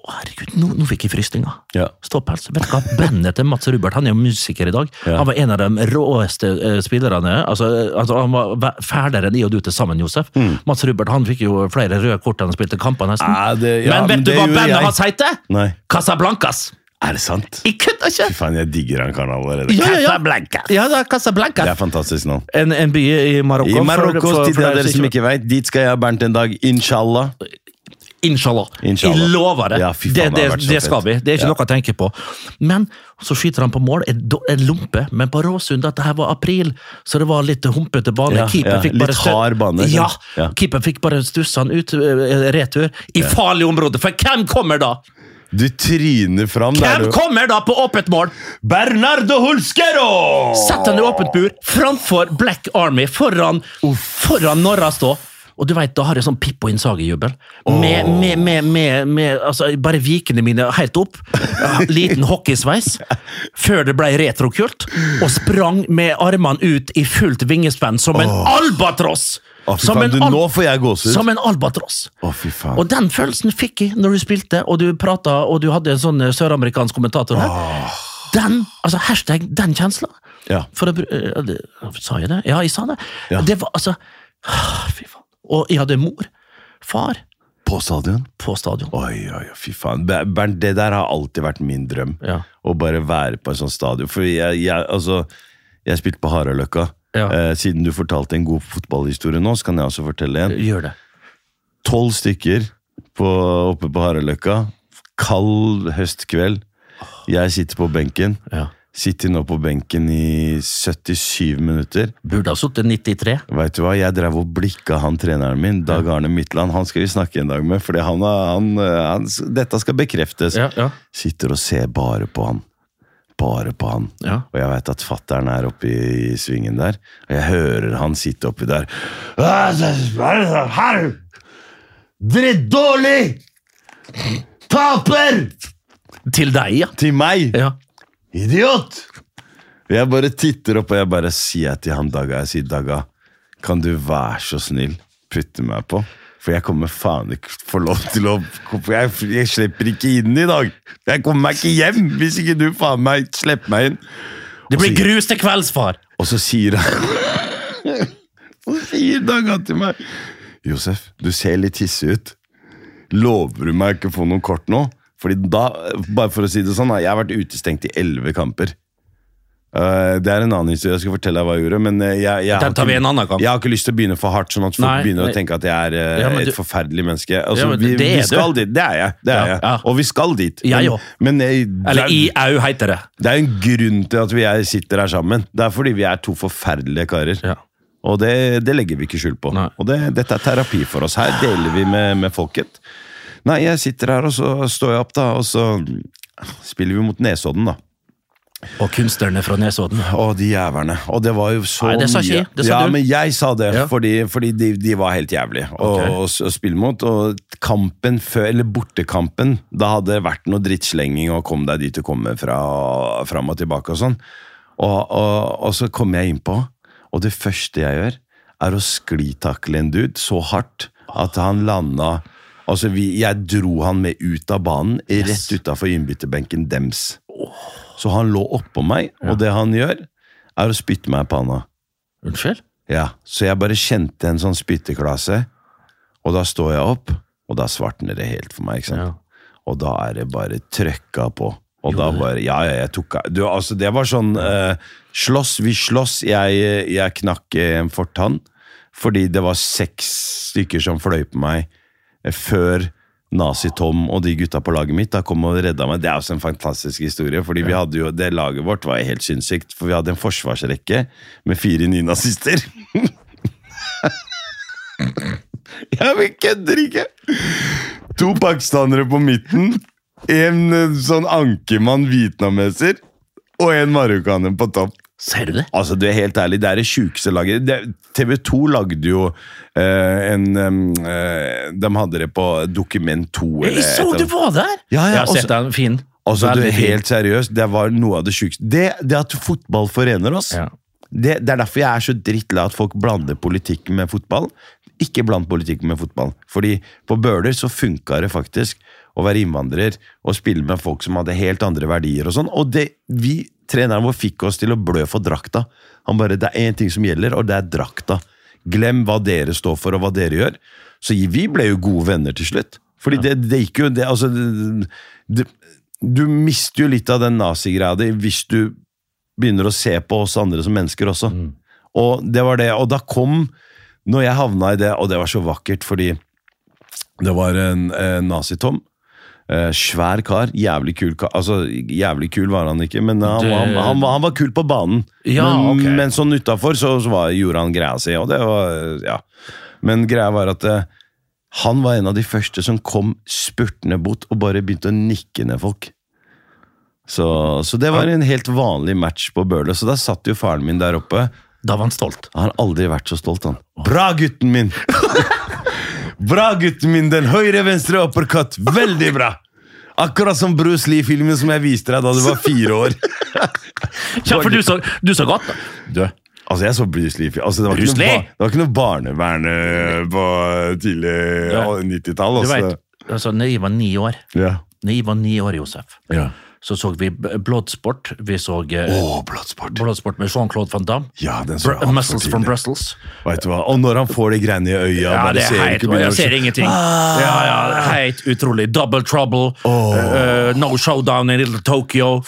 S1: Å, Herregud, nå, nå fikk jeg frysninger.
S2: Ja.
S1: Ståpels. Vet du hva? Bandet til Mats Rubert, han er jo musiker i dag.
S2: Ja.
S1: Han var en av de råeste eh, spillerne. Altså, eh, altså, han var ve- fælere enn i og du til sammen, Josef.
S2: Mm.
S1: Mats Rubert han fikk jo flere røde kort da han spilte kamper, nesten.
S2: Ja, det- Ah, ja,
S1: men
S2: men
S1: vet
S2: det
S1: du hva
S2: gjorde jeg.
S1: bandet hans heter?
S2: Nei.
S1: Casablancas!
S2: Er det sant?
S1: Jeg kødder ikke!
S2: Fy faen, jeg digger han karen allerede.
S1: Ja, ja, ja.
S2: Casablanca.
S1: Ja, det er Casablanca.
S2: Det er fantastisk navn.
S1: En, en by i Marokko.
S2: I
S1: for-
S2: Marokko,
S1: for-
S2: til
S1: for
S2: de av
S1: dere
S2: dere som ikke vet, dit skal jeg, Bernt, en dag. Inshallah.
S1: Inshallah.
S2: Inshallah.
S1: Jeg lover det.
S2: Ja, fy
S1: det,
S2: faen, det
S1: det,
S2: har vært så
S1: det skal
S2: fett.
S1: vi. Det er ikke
S2: Ja.
S1: noe å tenke på. Men så skyter han på mål, en, do- en lompe, men på Råsund dette her var april, så det var litt humpete bane.
S2: Ja,
S1: Keeper
S2: ja,
S1: fikk
S2: litt
S1: bare stø-
S2: hard bane,
S1: Ja,
S2: sant? Ja.
S1: Keeper fikk bare stussa han ut, eh, retur, i farlig område. For hvem kommer da?
S2: Du tryner fram der,
S1: Hvem
S2: du.
S1: kommer da på åpent mål?
S2: Bernardo Hulskero!
S1: Sett han i åpent bur framfor Black Army, foran, foran Norra stå. Og du vet, Da har jeg sånn Pippo Innsage-jubel. Med, med, med, med, med altså, bare vikene mine helt opp. Liten hockeysveis. Før det ble retrokult. Og sprang med armene ut i fullt vingespenn som en albatross!
S2: Å, fy
S1: Som en
S2: faen, du,
S1: al-
S2: nå får jeg gåsehud.
S1: Som en albatross.
S2: Å, fy faen.
S1: Og den følelsen fikk jeg når du spilte, og du prata, og du hadde en sånn eh, søramerikansk kommentator her. Den, altså hashtag den kjensla.
S2: Ja.
S1: For å bru- eh, det, sa jeg det? Ja, jeg sa det.
S2: Ja.
S1: Det var altså ah, Fy faen. Og jeg hadde mor, far,
S2: På stadion?
S1: på stadion.
S2: Oi, oi, oi, fy faen. Ber- Bernt, det der har alltid vært min drøm.
S1: Ja.
S2: Å bare være på en sånn stadion. For jeg, jeg, altså, jeg spilte på Haraløkka.
S1: Ja.
S2: Eh, siden du fortalte en god fotballhistorie nå, så kan jeg også fortelle en.
S1: Gjør det.
S2: Tolv stykker på, oppe på Haraløkka. Kald høstkveld. Jeg sitter på benken.
S1: Ja.
S2: Sitter nå på benken i 77 minutter.
S1: Burde ha sittet 93.
S2: Vet du hva, Jeg drev og blikka han treneren min, Dag Arne Midtland. Han skal vi snakke en dag med, for han, har- han, eh, han, dette skal bekreftes.
S1: Ja, ja.
S2: Sitter og ser bare på han. Bare på han.
S1: Ja.
S2: Og jeg veit at fattern er oppe i, i svingen der, og jeg hører han sitte oppi der. «Hva er det som er det her? Drittdårlig! Taper!
S1: Til deg, ja.
S2: Til meg!
S1: ja.
S2: Idiot! Jeg bare titter opp, og jeg bare sier til han Daga, jeg sier Daga, kan du være så snill putte meg på? For jeg kommer faen ikke få lov til å for jeg, jeg slipper ikke inn i dag. Jeg kommer meg ikke hjem hvis ikke du faen meg slipper meg inn.
S1: Det blir
S2: Og så-
S1: grus til kvelds, far!
S2: Og så sier han Så sier Daga til meg Josef, du ser litt hissig ut. Lover du meg ikke å få noen kort nå? Fordi da, bare for å si det sånn, da, jeg har vært utestengt i elleve kamper. Eh, det er en annen historie. Jeg skal fortelle deg hva jeg gjorde. Men eh, jeg, jeg, har
S1: Den tar vi
S2: ikke-
S1: en annen gang.
S2: jeg har ikke lyst til å begynne for hardt, sånn at folk
S1: Nei,
S2: begynner
S1: nei.
S2: å tenke at jeg er eh,
S1: Ja, men du-
S2: et forferdelig menneske. Altså,
S1: Ja, men
S2: vi,
S1: det er
S2: vi
S1: du.
S2: skal dit. Det er jeg. Det er
S1: Ja,
S2: jeg.
S1: ja.
S2: Og vi skal dit.
S1: Jeg
S2: Men-
S1: òg.
S2: men, eh,
S1: Eller
S2: det er-
S1: i au, heter det.
S2: det er en grunn til at vi er, sitter her sammen. Det er fordi vi er to forferdelige karer.
S1: Ja.
S2: Og det, det legger vi ikke skjul på.
S1: Nei.
S2: Og det, dette er terapi for oss. Her deler vi med, med folket. Nei, jeg sitter her, og så står jeg opp, da, og så spiller vi mot Nesodden, da.
S1: Og kunstnerne fra Nesodden.
S2: Å, de jævlene. Og det var jo så
S1: Nei, det sa
S2: mye.
S1: ikke jeg. Det sa
S2: ja,
S1: du.
S2: men jeg sa det,
S1: Ja.
S2: fordi, fordi de, de var helt jævlige å,
S1: Ok.
S2: å, s- å spille mot. Og kampen før, eller bortekampen, da hadde det vært noe drittslenging og kom deg dit du kommer fra, og fram og tilbake og sånn. Og, og, og så kom jeg innpå, og det første jeg gjør, er å sklitakle en dude så hardt at han landa Altså, vi, jeg dro han med ut av banen, rett utafor innbytterbenken dems. Så han lå oppå meg, og det han gjør, er å spytte meg i panna.
S1: Unnskyld?
S2: Ja, Så jeg bare kjente en sånn spytteklase, og da står jeg opp, og da svartner det helt for meg. ikke sant?
S1: Ja.
S2: Og da er det bare trøkka på. Og da bare Ja, ja, jeg tok av du, altså, Det var sånn eh, Slåss, vi slåss. Jeg, jeg knakk eh, en fortann fordi det var seks stykker som fløy på meg eh, før Nazi-Tom og de gutta på laget mitt da kom og redda meg. Det er også en fantastisk historie, fordi vi hadde jo, det laget vårt var helt sinnssykt. For vi hadde en forsvarsrekke med fire nynazister. ja, vi kødder ikke! To pakistanere på midten, en eh, sånn ankermann vietnameser og en marokkaner på topp.
S1: Ser du det?
S2: Altså, du er helt ærlig, det er det sjukeste laget. Det, TV 2 lagde jo eh, en eh, De hadde det på Dokument 2. eller
S1: Jeg
S2: et
S1: så
S2: eller
S1: du
S2: annet.
S1: var der!
S2: Ja, ja,
S1: jeg har
S2: også-
S1: sett den. Fin.
S2: Altså, du,
S1: Veldig fin.
S2: helt seriøst, det var noe av det sjukeste. Det, det at fotball forener oss.
S1: Ja.
S2: Det, det er derfor jeg er så drittlei at folk blander politikk med fotball. Ikke bland politikk med fotball. Fordi på Bøler så funka det faktisk å være innvandrer og spille med folk som hadde helt andre verdier og sånn. Og det, vi, treneren vår fikk oss til å blø for drakta. Han bare, det er én ting som gjelder, og det er drakta. Glem hva dere står for og hva dere gjør. Så vi ble jo gode venner til slutt. Fordi det, det gikk jo det, altså, det, det, Du mister jo litt av den nazigreia di hvis du begynner å se på oss andre som mennesker også. Og det var det, og da kom, når jeg havna i det, og det var så vakkert, fordi det var en, en nazitom, eh, svær kar, jævlig kul kar, altså jævlig kul var han ikke, men han,
S1: Det-
S2: han, han, var- han var kul på banen.
S1: Ja,
S2: men,
S1: ok.
S2: men sånn utafor så, så var, gjorde han greia si, og det var, ja. Men greia var at eh, han var en av de første som kom spurtende bort og bare begynte å nikke ned folk. Så, så det var en helt vanlig match på Bøler. Så da satt jo faren min der oppe.
S1: Da var han stolt.
S2: Han har aldri vært så stolt, han. Bra, gutten min! bra, gutten min! Den høyre-venstre uppercut. Veldig bra! Akkurat som Bruce Lee-filmen som jeg viste deg da du var fire år.
S1: Ja, for du så, du så godt. Du.
S2: Altså, jeg så Bruce Lee. Altså, det, var
S1: Bruce
S2: ikke noe,
S1: Lee?
S2: ba- det var ikke noe barnevern eh, på tidlig
S1: Ja.
S2: 90-tall.
S1: Du
S2: Altså.
S1: vet, altså, når jeg var ni år,
S2: Ja.
S1: når jeg var ni år, Josef,
S2: Ja.
S1: så så vi B- Bloodsport. Vi så eh,
S2: Å, bloodsport.
S1: Bloodsport med Jean-Claude van Damme.
S2: Ja, den så
S1: Br
S2: jeg altfor
S1: Muscles from
S2: tidlig.
S1: Brussels.
S2: Vet du hva? Og når han får de greiene i øya
S1: Ja,
S2: bare
S1: det er
S2: ser
S1: heit,
S2: ikke
S1: og
S2: begynner
S1: jeg
S2: å-
S1: ser ingenting.
S2: Ah!
S1: Ja, ja, Heit, utrolig. Double trouble. eh, no showdown in Little Tokyo.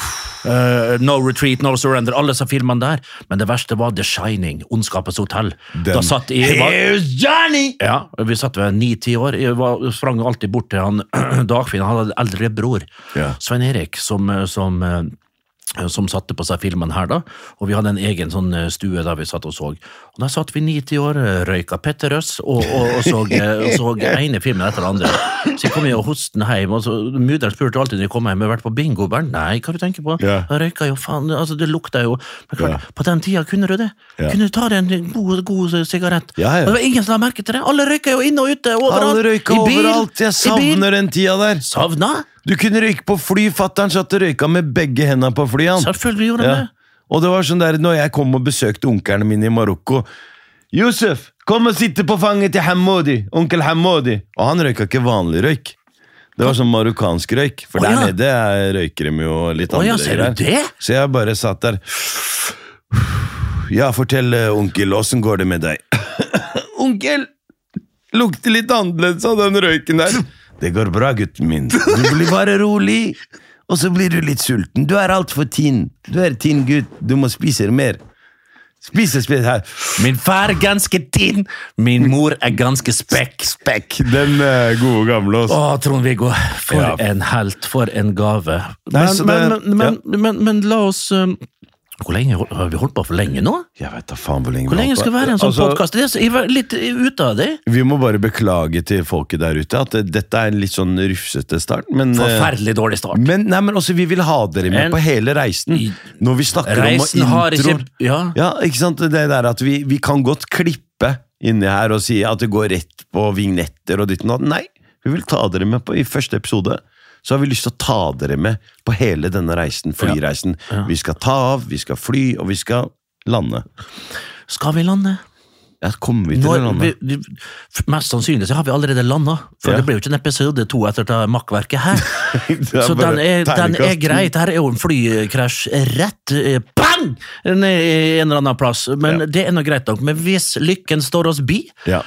S1: eh, no retreat, no surrender. Alle disse filmene der. Men det verste var The Shining, Ondskapets hotell. Da
S2: Den-
S1: satt jeg var-
S2: Here's Johnny!
S1: Ja, vi satt ved ni-ti år. Jeg var, sprang alltid bort til han Dagfinn, han hadde en eldre bror,
S2: Ja.
S1: Svein Erik, som, eh, som, eh, som satte på seg filmen her, da. Og vi hadde en egen sånn eh, stue der vi satt og så. Og der satt vi ni-ti år, eh, røyka Petterøes og, og, og så, eh, og så ene filmen etter den andre. Så jeg kom jo hostende hjem, og så mudder'n spurte alltid når jeg kom hjem, har du vært på bingobæren? Nei, hva du tenker på?
S2: Ja.
S1: Jeg røyka jo, faen, altså det lukta jo. Men klart,
S2: Ja.
S1: på den tida kunne du det.
S2: Ja.
S1: Kunne du ta deg en god, god sigarett?
S2: Ja, ja.
S1: Og det var ingen som la merke til det. Alle røyka jo inne og ute. Overalt.
S2: Alle røyka
S1: I bil,
S2: overalt. Jeg
S1: i bil.
S2: savner den tida der.
S1: Savna?
S2: Du kunne røyke på fly. Fatter'n satt og røyka med begge hendene på flyet. han.
S1: Selvfølgelig gjorde han
S2: Ja. Og det var sånn der, når jeg kom og besøkte onkerne mine i Marokko Yusuf, kom og sitte på fanget til Hammodi, onkel Hammodi. Og han røyka ikke vanlig røyk. Det var sånn marokkansk røyk. For
S1: Å,
S2: der
S1: ja.
S2: nede eh, røyker de jo litt
S1: Å,
S2: andre
S1: ja, ser du
S2: greier.
S1: det?
S2: Så jeg bare satt der. Ja, fortell, eh, onkel, åssen går det med deg? onkel! Lukter litt annerledes av den røyken der. Det går bra, gutten min. Du blir bare rolig. Og så blir du litt sulten. Du er altfor tynn. Du er tynn gutt. Du må spise mer. Spise, spise her.
S1: det. Min far er ganske tynn. Min mor er ganske spekk.
S2: Spekk. Den eh, gode gamle oss.
S1: Å, Trond-Viggo. For
S2: Ja.
S1: en helt. For en gave.
S2: Nei,
S1: Men,
S2: så
S1: men,
S2: det-
S1: men, men, men, men la oss um, Hvor lenge hol- har vi holdt på for lenge nå?
S2: Jeg vet da faen hvor lenge
S1: Hvor
S2: vi
S1: lenge
S2: holdt på.
S1: skal det være i en sånn
S2: Altså,
S1: podkast? Jeg var litt ute av det.
S2: Vi må bare beklage til folket der ute at eh, dette er en litt sånn rufsete start, men eh,
S1: Forferdelig dårlig start.
S2: Men, nei, men også, vi vil ha dere med
S1: En-
S2: på hele reisen.
S1: I-
S2: Når vi snakker
S1: Reisen
S2: om
S1: har ikke
S2: introer.
S1: Ja.
S2: Ja, ikke sant? Det der at vi, vi kan godt klippe inni her og si at det går rett på vignetter og ditten og datten. Nei, vi vil ta dere med på i første episode. Så har vi lyst til å ta dere med på hele denne reisen, flyreisen. Vi skal ta av, vi skal fly, og vi skal lande.
S1: Skal vi lande?
S2: Ja, kommer vi til å
S1: Når,
S2: lande?
S1: vi, vi, f- mest sannsynlig så har vi allerede landa, for
S2: Ja.
S1: det blir jo ikke en episode to etter det makkverket her.
S2: Det er
S1: så
S2: bare
S1: den er, den er
S2: terningkast.
S1: greit. Her er jo en flykrasj rett eh, bang! Ned i en eller annen plass. Men det er nå greit nok. Men hvis lykken står oss bi,
S2: Ja.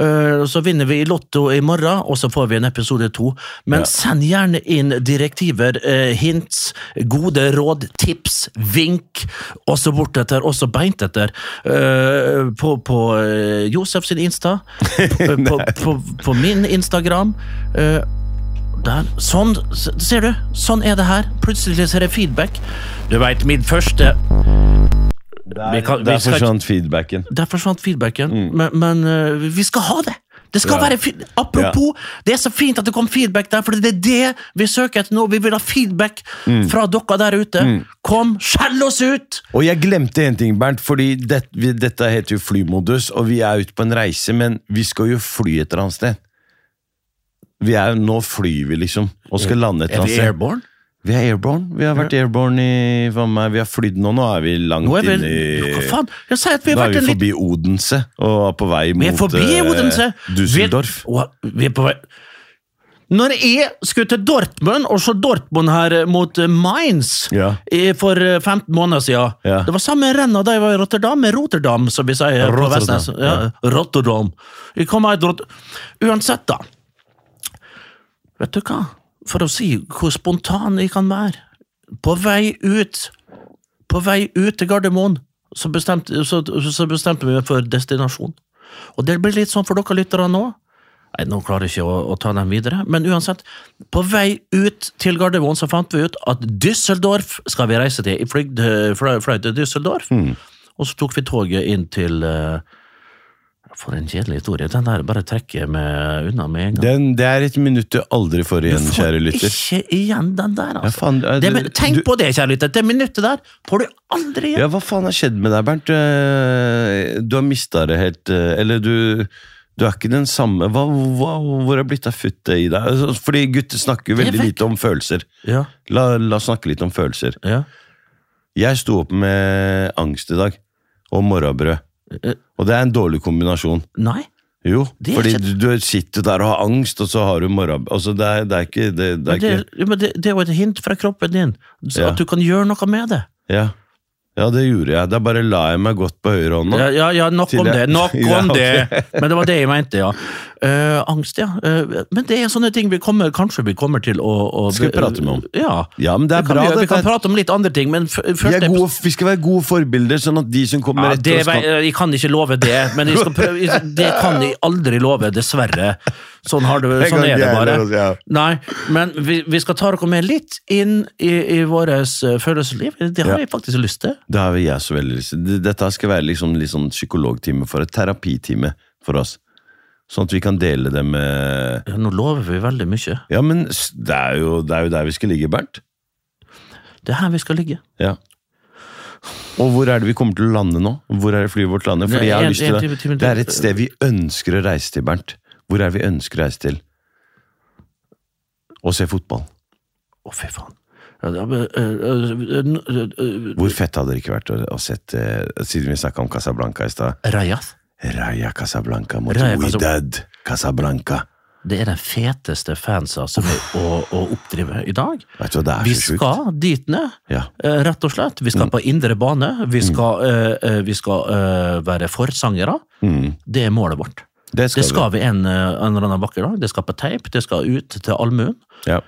S1: eh, så vinner vi i Lotto i morgen, og så får vi en episode to. Men send gjerne inn direktiver, eh, hints, gode råd, tips, vink, også bortetter, også beintetter, eh, på, på eh, Josef sin Insta, på, på, på, på min Instagram. eh, Der. Sånn, s- ser du. Sånn er det her. Plutselig ser jeg feedback. Du veit, min første
S2: Der,
S1: Vi kan- vi
S2: der
S1: skal-
S2: forsvant feedbacken.
S1: Der forsvant feedbacken, men, men eh, vi skal ha det! Det skal
S2: Mm. Ja.
S1: være feed- Apropos, det er så fint at det kom feedback der, for det er det vi søker etter nå. Vi vil ha feedback
S2: Mm.
S1: fra dere der ute. Kom, skjell oss ut!
S2: Og jeg glemte en ting, Bernt, fordi det, vi, dette heter jo flymodus, og vi er ute på en reise, men vi skal jo fly et eller annet sted. Vi er jo, nå flyr vi liksom, og skal lande et eller
S1: Er
S2: annet
S1: vi
S2: sted.
S1: airborne?
S2: Vi er airborne. Vi har vært airborne i faen meg, Vi har flydd nå. Nå er vi langt
S1: Nå er vi
S2: inn
S1: Hva
S2: i
S1: faen? Jeg sier at vi har
S2: Nå er
S1: vært
S2: vi
S1: en litt
S2: forbi Odense og er på vei mot
S1: Vi er forbi
S2: eh,
S1: Odense!
S2: Düsseldorf.
S1: Vi, Åh, vi er på vei Når jeg skulle til Dortmund og se Dortmund her eh, mot eh, Mainz
S2: Ja.
S1: i- for eh, 15 måneder siden
S2: Ja.
S1: Det var samme renna da jeg var i Rotterdam, med Rotterdam, som vi sier på
S2: Rotterdam,
S1: Vestnes. Ja, Rotterdam. Jeg kom her, til Rot- Uansett, da. Vet du hva? For å si hvor spontan jeg kan være. På vei ut På vei ut til Gardermoen så bestemte, så, så bestemte vi meg for destinasjon. Og det blir litt sånn for dere lyttere nå. Nei, Nå klarer jeg ikke å, å ta dem videre, men uansett. På vei ut til Gardermoen så fant vi ut at Düsseldorf skal vi reise til. Jeg flygde- fløy fløy til Düsseldorf,
S2: Mm.
S1: og så tok vi toget inn til eh, For en kjedelig historie. Den der bare trekker jeg meg unna med en gang.
S2: Den, det er et minutt du aldri får igjen,
S1: Får
S2: kjære lytter.
S1: Ikke igjen den der, altså.
S2: faen,
S1: det,
S2: er det-
S1: men tenk
S2: du-
S1: på det, kjære lytter. Det minuttet der får du aldri igjen.
S2: Ja, hva faen har skjedd med deg, Bernt? Eh, Du har mista det helt eh, Eller du du er ikke den samme hva, hva, Hvor har blitt av futtet i deg? Altså, Fordi gutter snakker jo
S1: Det er
S2: veldig
S1: vekk.
S2: lite om følelser.
S1: Ja.
S2: La, la oss snakke litt om følelser.
S1: ja.
S2: Jeg sto opp med angst i dag, og morrabrød.
S1: Eh,
S2: Og det er en dårlig kombinasjon.
S1: Nei.
S2: Jo,
S1: Det er
S2: fordi
S1: ikke-
S2: du, du sitter der og har angst, og så har du morrabrød. Altså, det er, det er ikke det, det
S1: Men
S2: er
S1: det,
S2: ikke,
S1: jo, men det, det er jo et hint fra kroppen din, så
S2: Ja.
S1: at du kan gjøre noe med det.
S2: ja. ja, det gjorde jeg. Da bare la jeg meg godt på høyrehånda.
S1: Ja, ja, ja nok
S2: Til
S1: om
S2: det-
S1: det. Nok
S2: Ja,
S1: om
S2: ok.
S1: det! Men det var det jeg mente, ja. Eh, angst, ja. Eh, men det er sånne ting vi kommer, kanskje vi kommer til å, å
S2: Skal vi prate med om?
S1: Ja.
S2: Ja, men det er
S1: vi kan,
S2: bra,
S1: vi, gjøre. vi
S2: dette
S1: kan
S2: er-
S1: prate om litt andre ting, men f-
S2: Vi,
S1: første
S2: er gode, vi skal være gode forbilder, sånn at de som kommer
S1: Ja,
S2: etter
S1: det, eh,
S2: oss kan...
S1: jeg kan ikke love det, men jeg skal prøve, det kan jeg aldri love, dessverre. Sånn, har du,
S2: Jeg
S1: sånn
S2: kan
S1: er det
S2: ikke
S1: bare.
S2: heller, altså, ja.
S1: Nei, men vi, vi skal ta dere med litt inn i, i vårt følelsesliv. Det har
S2: Ja.
S1: jeg faktisk lyst til.
S2: Det har jeg så veldig lyst til. Dette skal være liksom, litt sånn psykologtime for et terapitime for oss. Sånn at vi kan dele det med
S1: Ja, Nå lover vi veldig mye.
S2: Ja, men s- det er jo, det er jo der vi skal ligge, Bernt.
S1: Det er her vi skal ligge.
S2: Ja. Og hvor er det vi kommer til å lande nå? Hvor er det flyet vårt lander?
S1: Det
S2: Fordi
S1: er
S2: jeg har
S1: en-
S2: lyst til
S1: en time-
S2: å...
S1: time-
S2: Det er et sted vi ønsker å reise til, Bernt. Hvor er det vi ønsker å reise til? Å se fotball.
S1: Å, fy faen. Ja, det er, eh, eh, n- eh,
S2: Hvor fett hadde det ikke vært å, å sette Siden vi snakka om Casablanca i stad.
S1: eh, Rayas.
S2: Raya Casablanca mot
S1: Raja Casab-
S2: Widad Casablanca.
S1: Det er den feteste fansa som er å, å oppdrive i dag.
S2: Vet du hva, det er
S1: Vi
S2: så sjukt. Mm.
S1: skal dit ned.
S2: Ja.
S1: Eh, Rett og slett. Vi skal på indre bane. Vi skal, eh, eh, vi skal eh, være forsangere.
S2: Mm.
S1: Det er målet vårt.
S2: Det skal,
S1: Det skal vi en, eh, en eller annen vakker dag. Det skal på teip, det skal ut til allmuen.
S2: vi. Ja.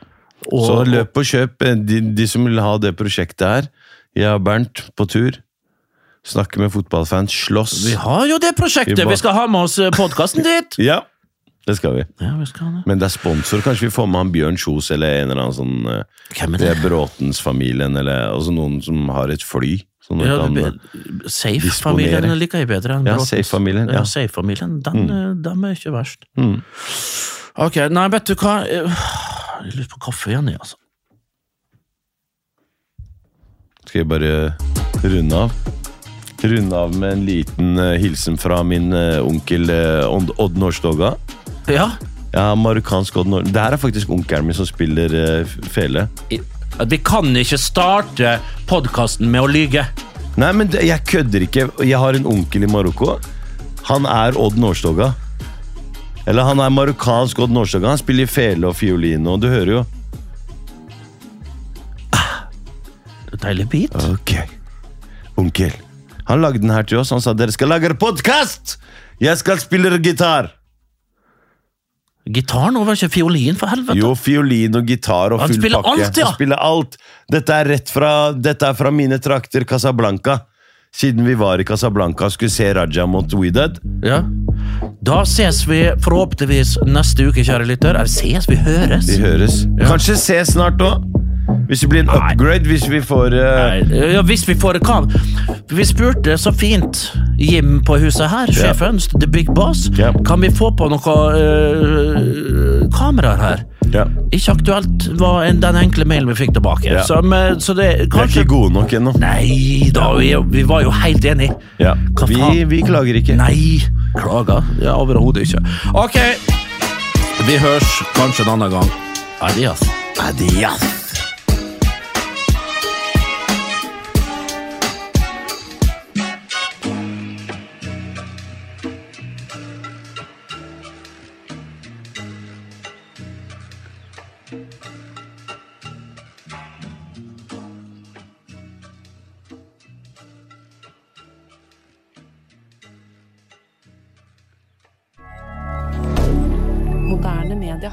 S1: Og-
S2: Så løp og kjøp, eh, de, de som vil ha det prosjektet her. Jeg og Bernt på tur. Snakke med fotballfans. Slåss.
S1: Vi har jo det prosjektet!
S2: Vi må-
S1: Vi skal ha med oss podkasten dit!
S2: Ja, det skal vi.
S1: Ja, vi skal ha det.
S2: Men det er sponsor. Kanskje vi får med han Bjørn Kjos eller en eller annen sånn eh,
S1: Hvem er
S2: Det
S1: det?
S2: er Bråtens-familien, eller altså noen som har et fly. Sånn at
S1: Ja,
S2: han,
S1: Safe-familien
S2: disponere.
S1: liker jeg bedre enn
S2: ja,
S1: Bråtens.
S2: Safe-familien.
S1: Ja,
S2: Ja.
S1: Safe-familien, den, eh, dem er ikke verst.
S2: Mm.
S1: Ok, nei, vet du hva Jeg jeg lurer på kaffe igjen, jeg, altså.
S2: Skal jeg bare runde av? Runde av med en liten eh, hilsen fra min eh, onkel eh, Odd- Odd Norstoga.
S1: Ja,
S2: Ja, marokkansk Odd Nor... Det her er faktisk onkelen min som spiller eh, f- fele.
S1: i- at vi kan ikke starte podkasten med å lyge.
S2: Nei, men det, jeg kødder ikke. Jeg har en onkel i Marokko. Han er Odd Norstoga. Eller han er marokkansk Odd Norstoga. Han spiller fele og fiolin, og du hører jo.
S1: Deilig bit.
S2: Ok. Onkel. Han lagde den her til oss. Han sa dere skal lage podkast! Jeg skal spille gitar!
S1: Gitar nå, var ikke fiolin, for helvete.
S2: Jo, fiolin og gitar og
S1: Han
S2: full
S1: spiller
S2: pakke.
S1: alt, ja.
S2: Han spiller alt. Dette er rett fra, dette er fra mine trakter, Casablanca. Siden vi var i Casablanca og skulle se Raja mot Weedad.
S1: Ja. Da ses vi forhåpentligvis neste uke, kjære lytter. Eller ses, vi høres.
S2: Vi høres. Kanskje ses snart òg. Hvis det blir en upgrade, hvis vi får eh,
S1: Nei, Ja, hvis vi får hva Vi spurte så fint Jim på huset her, sjefen, The Big Boss.
S2: Ja.
S1: Kan vi få på noen kameraer her?
S2: ja.
S1: Ikke aktuelt var en, den enkle mailen vi fikk tilbake.
S2: Ja.
S1: Så, men, så det
S2: Vi er
S1: kanskje
S2: ikke gode nok ennå.
S1: Nei da, vi, vi var jo helt enige.
S2: Ja.
S1: Hva
S2: Vi,
S1: faen?
S2: vi klager ikke.
S1: Nei. Klager? Ja, Overhodet ikke. Ok, vi høres kanskje en annen gang. Adias. Adias.
S3: Moderne media.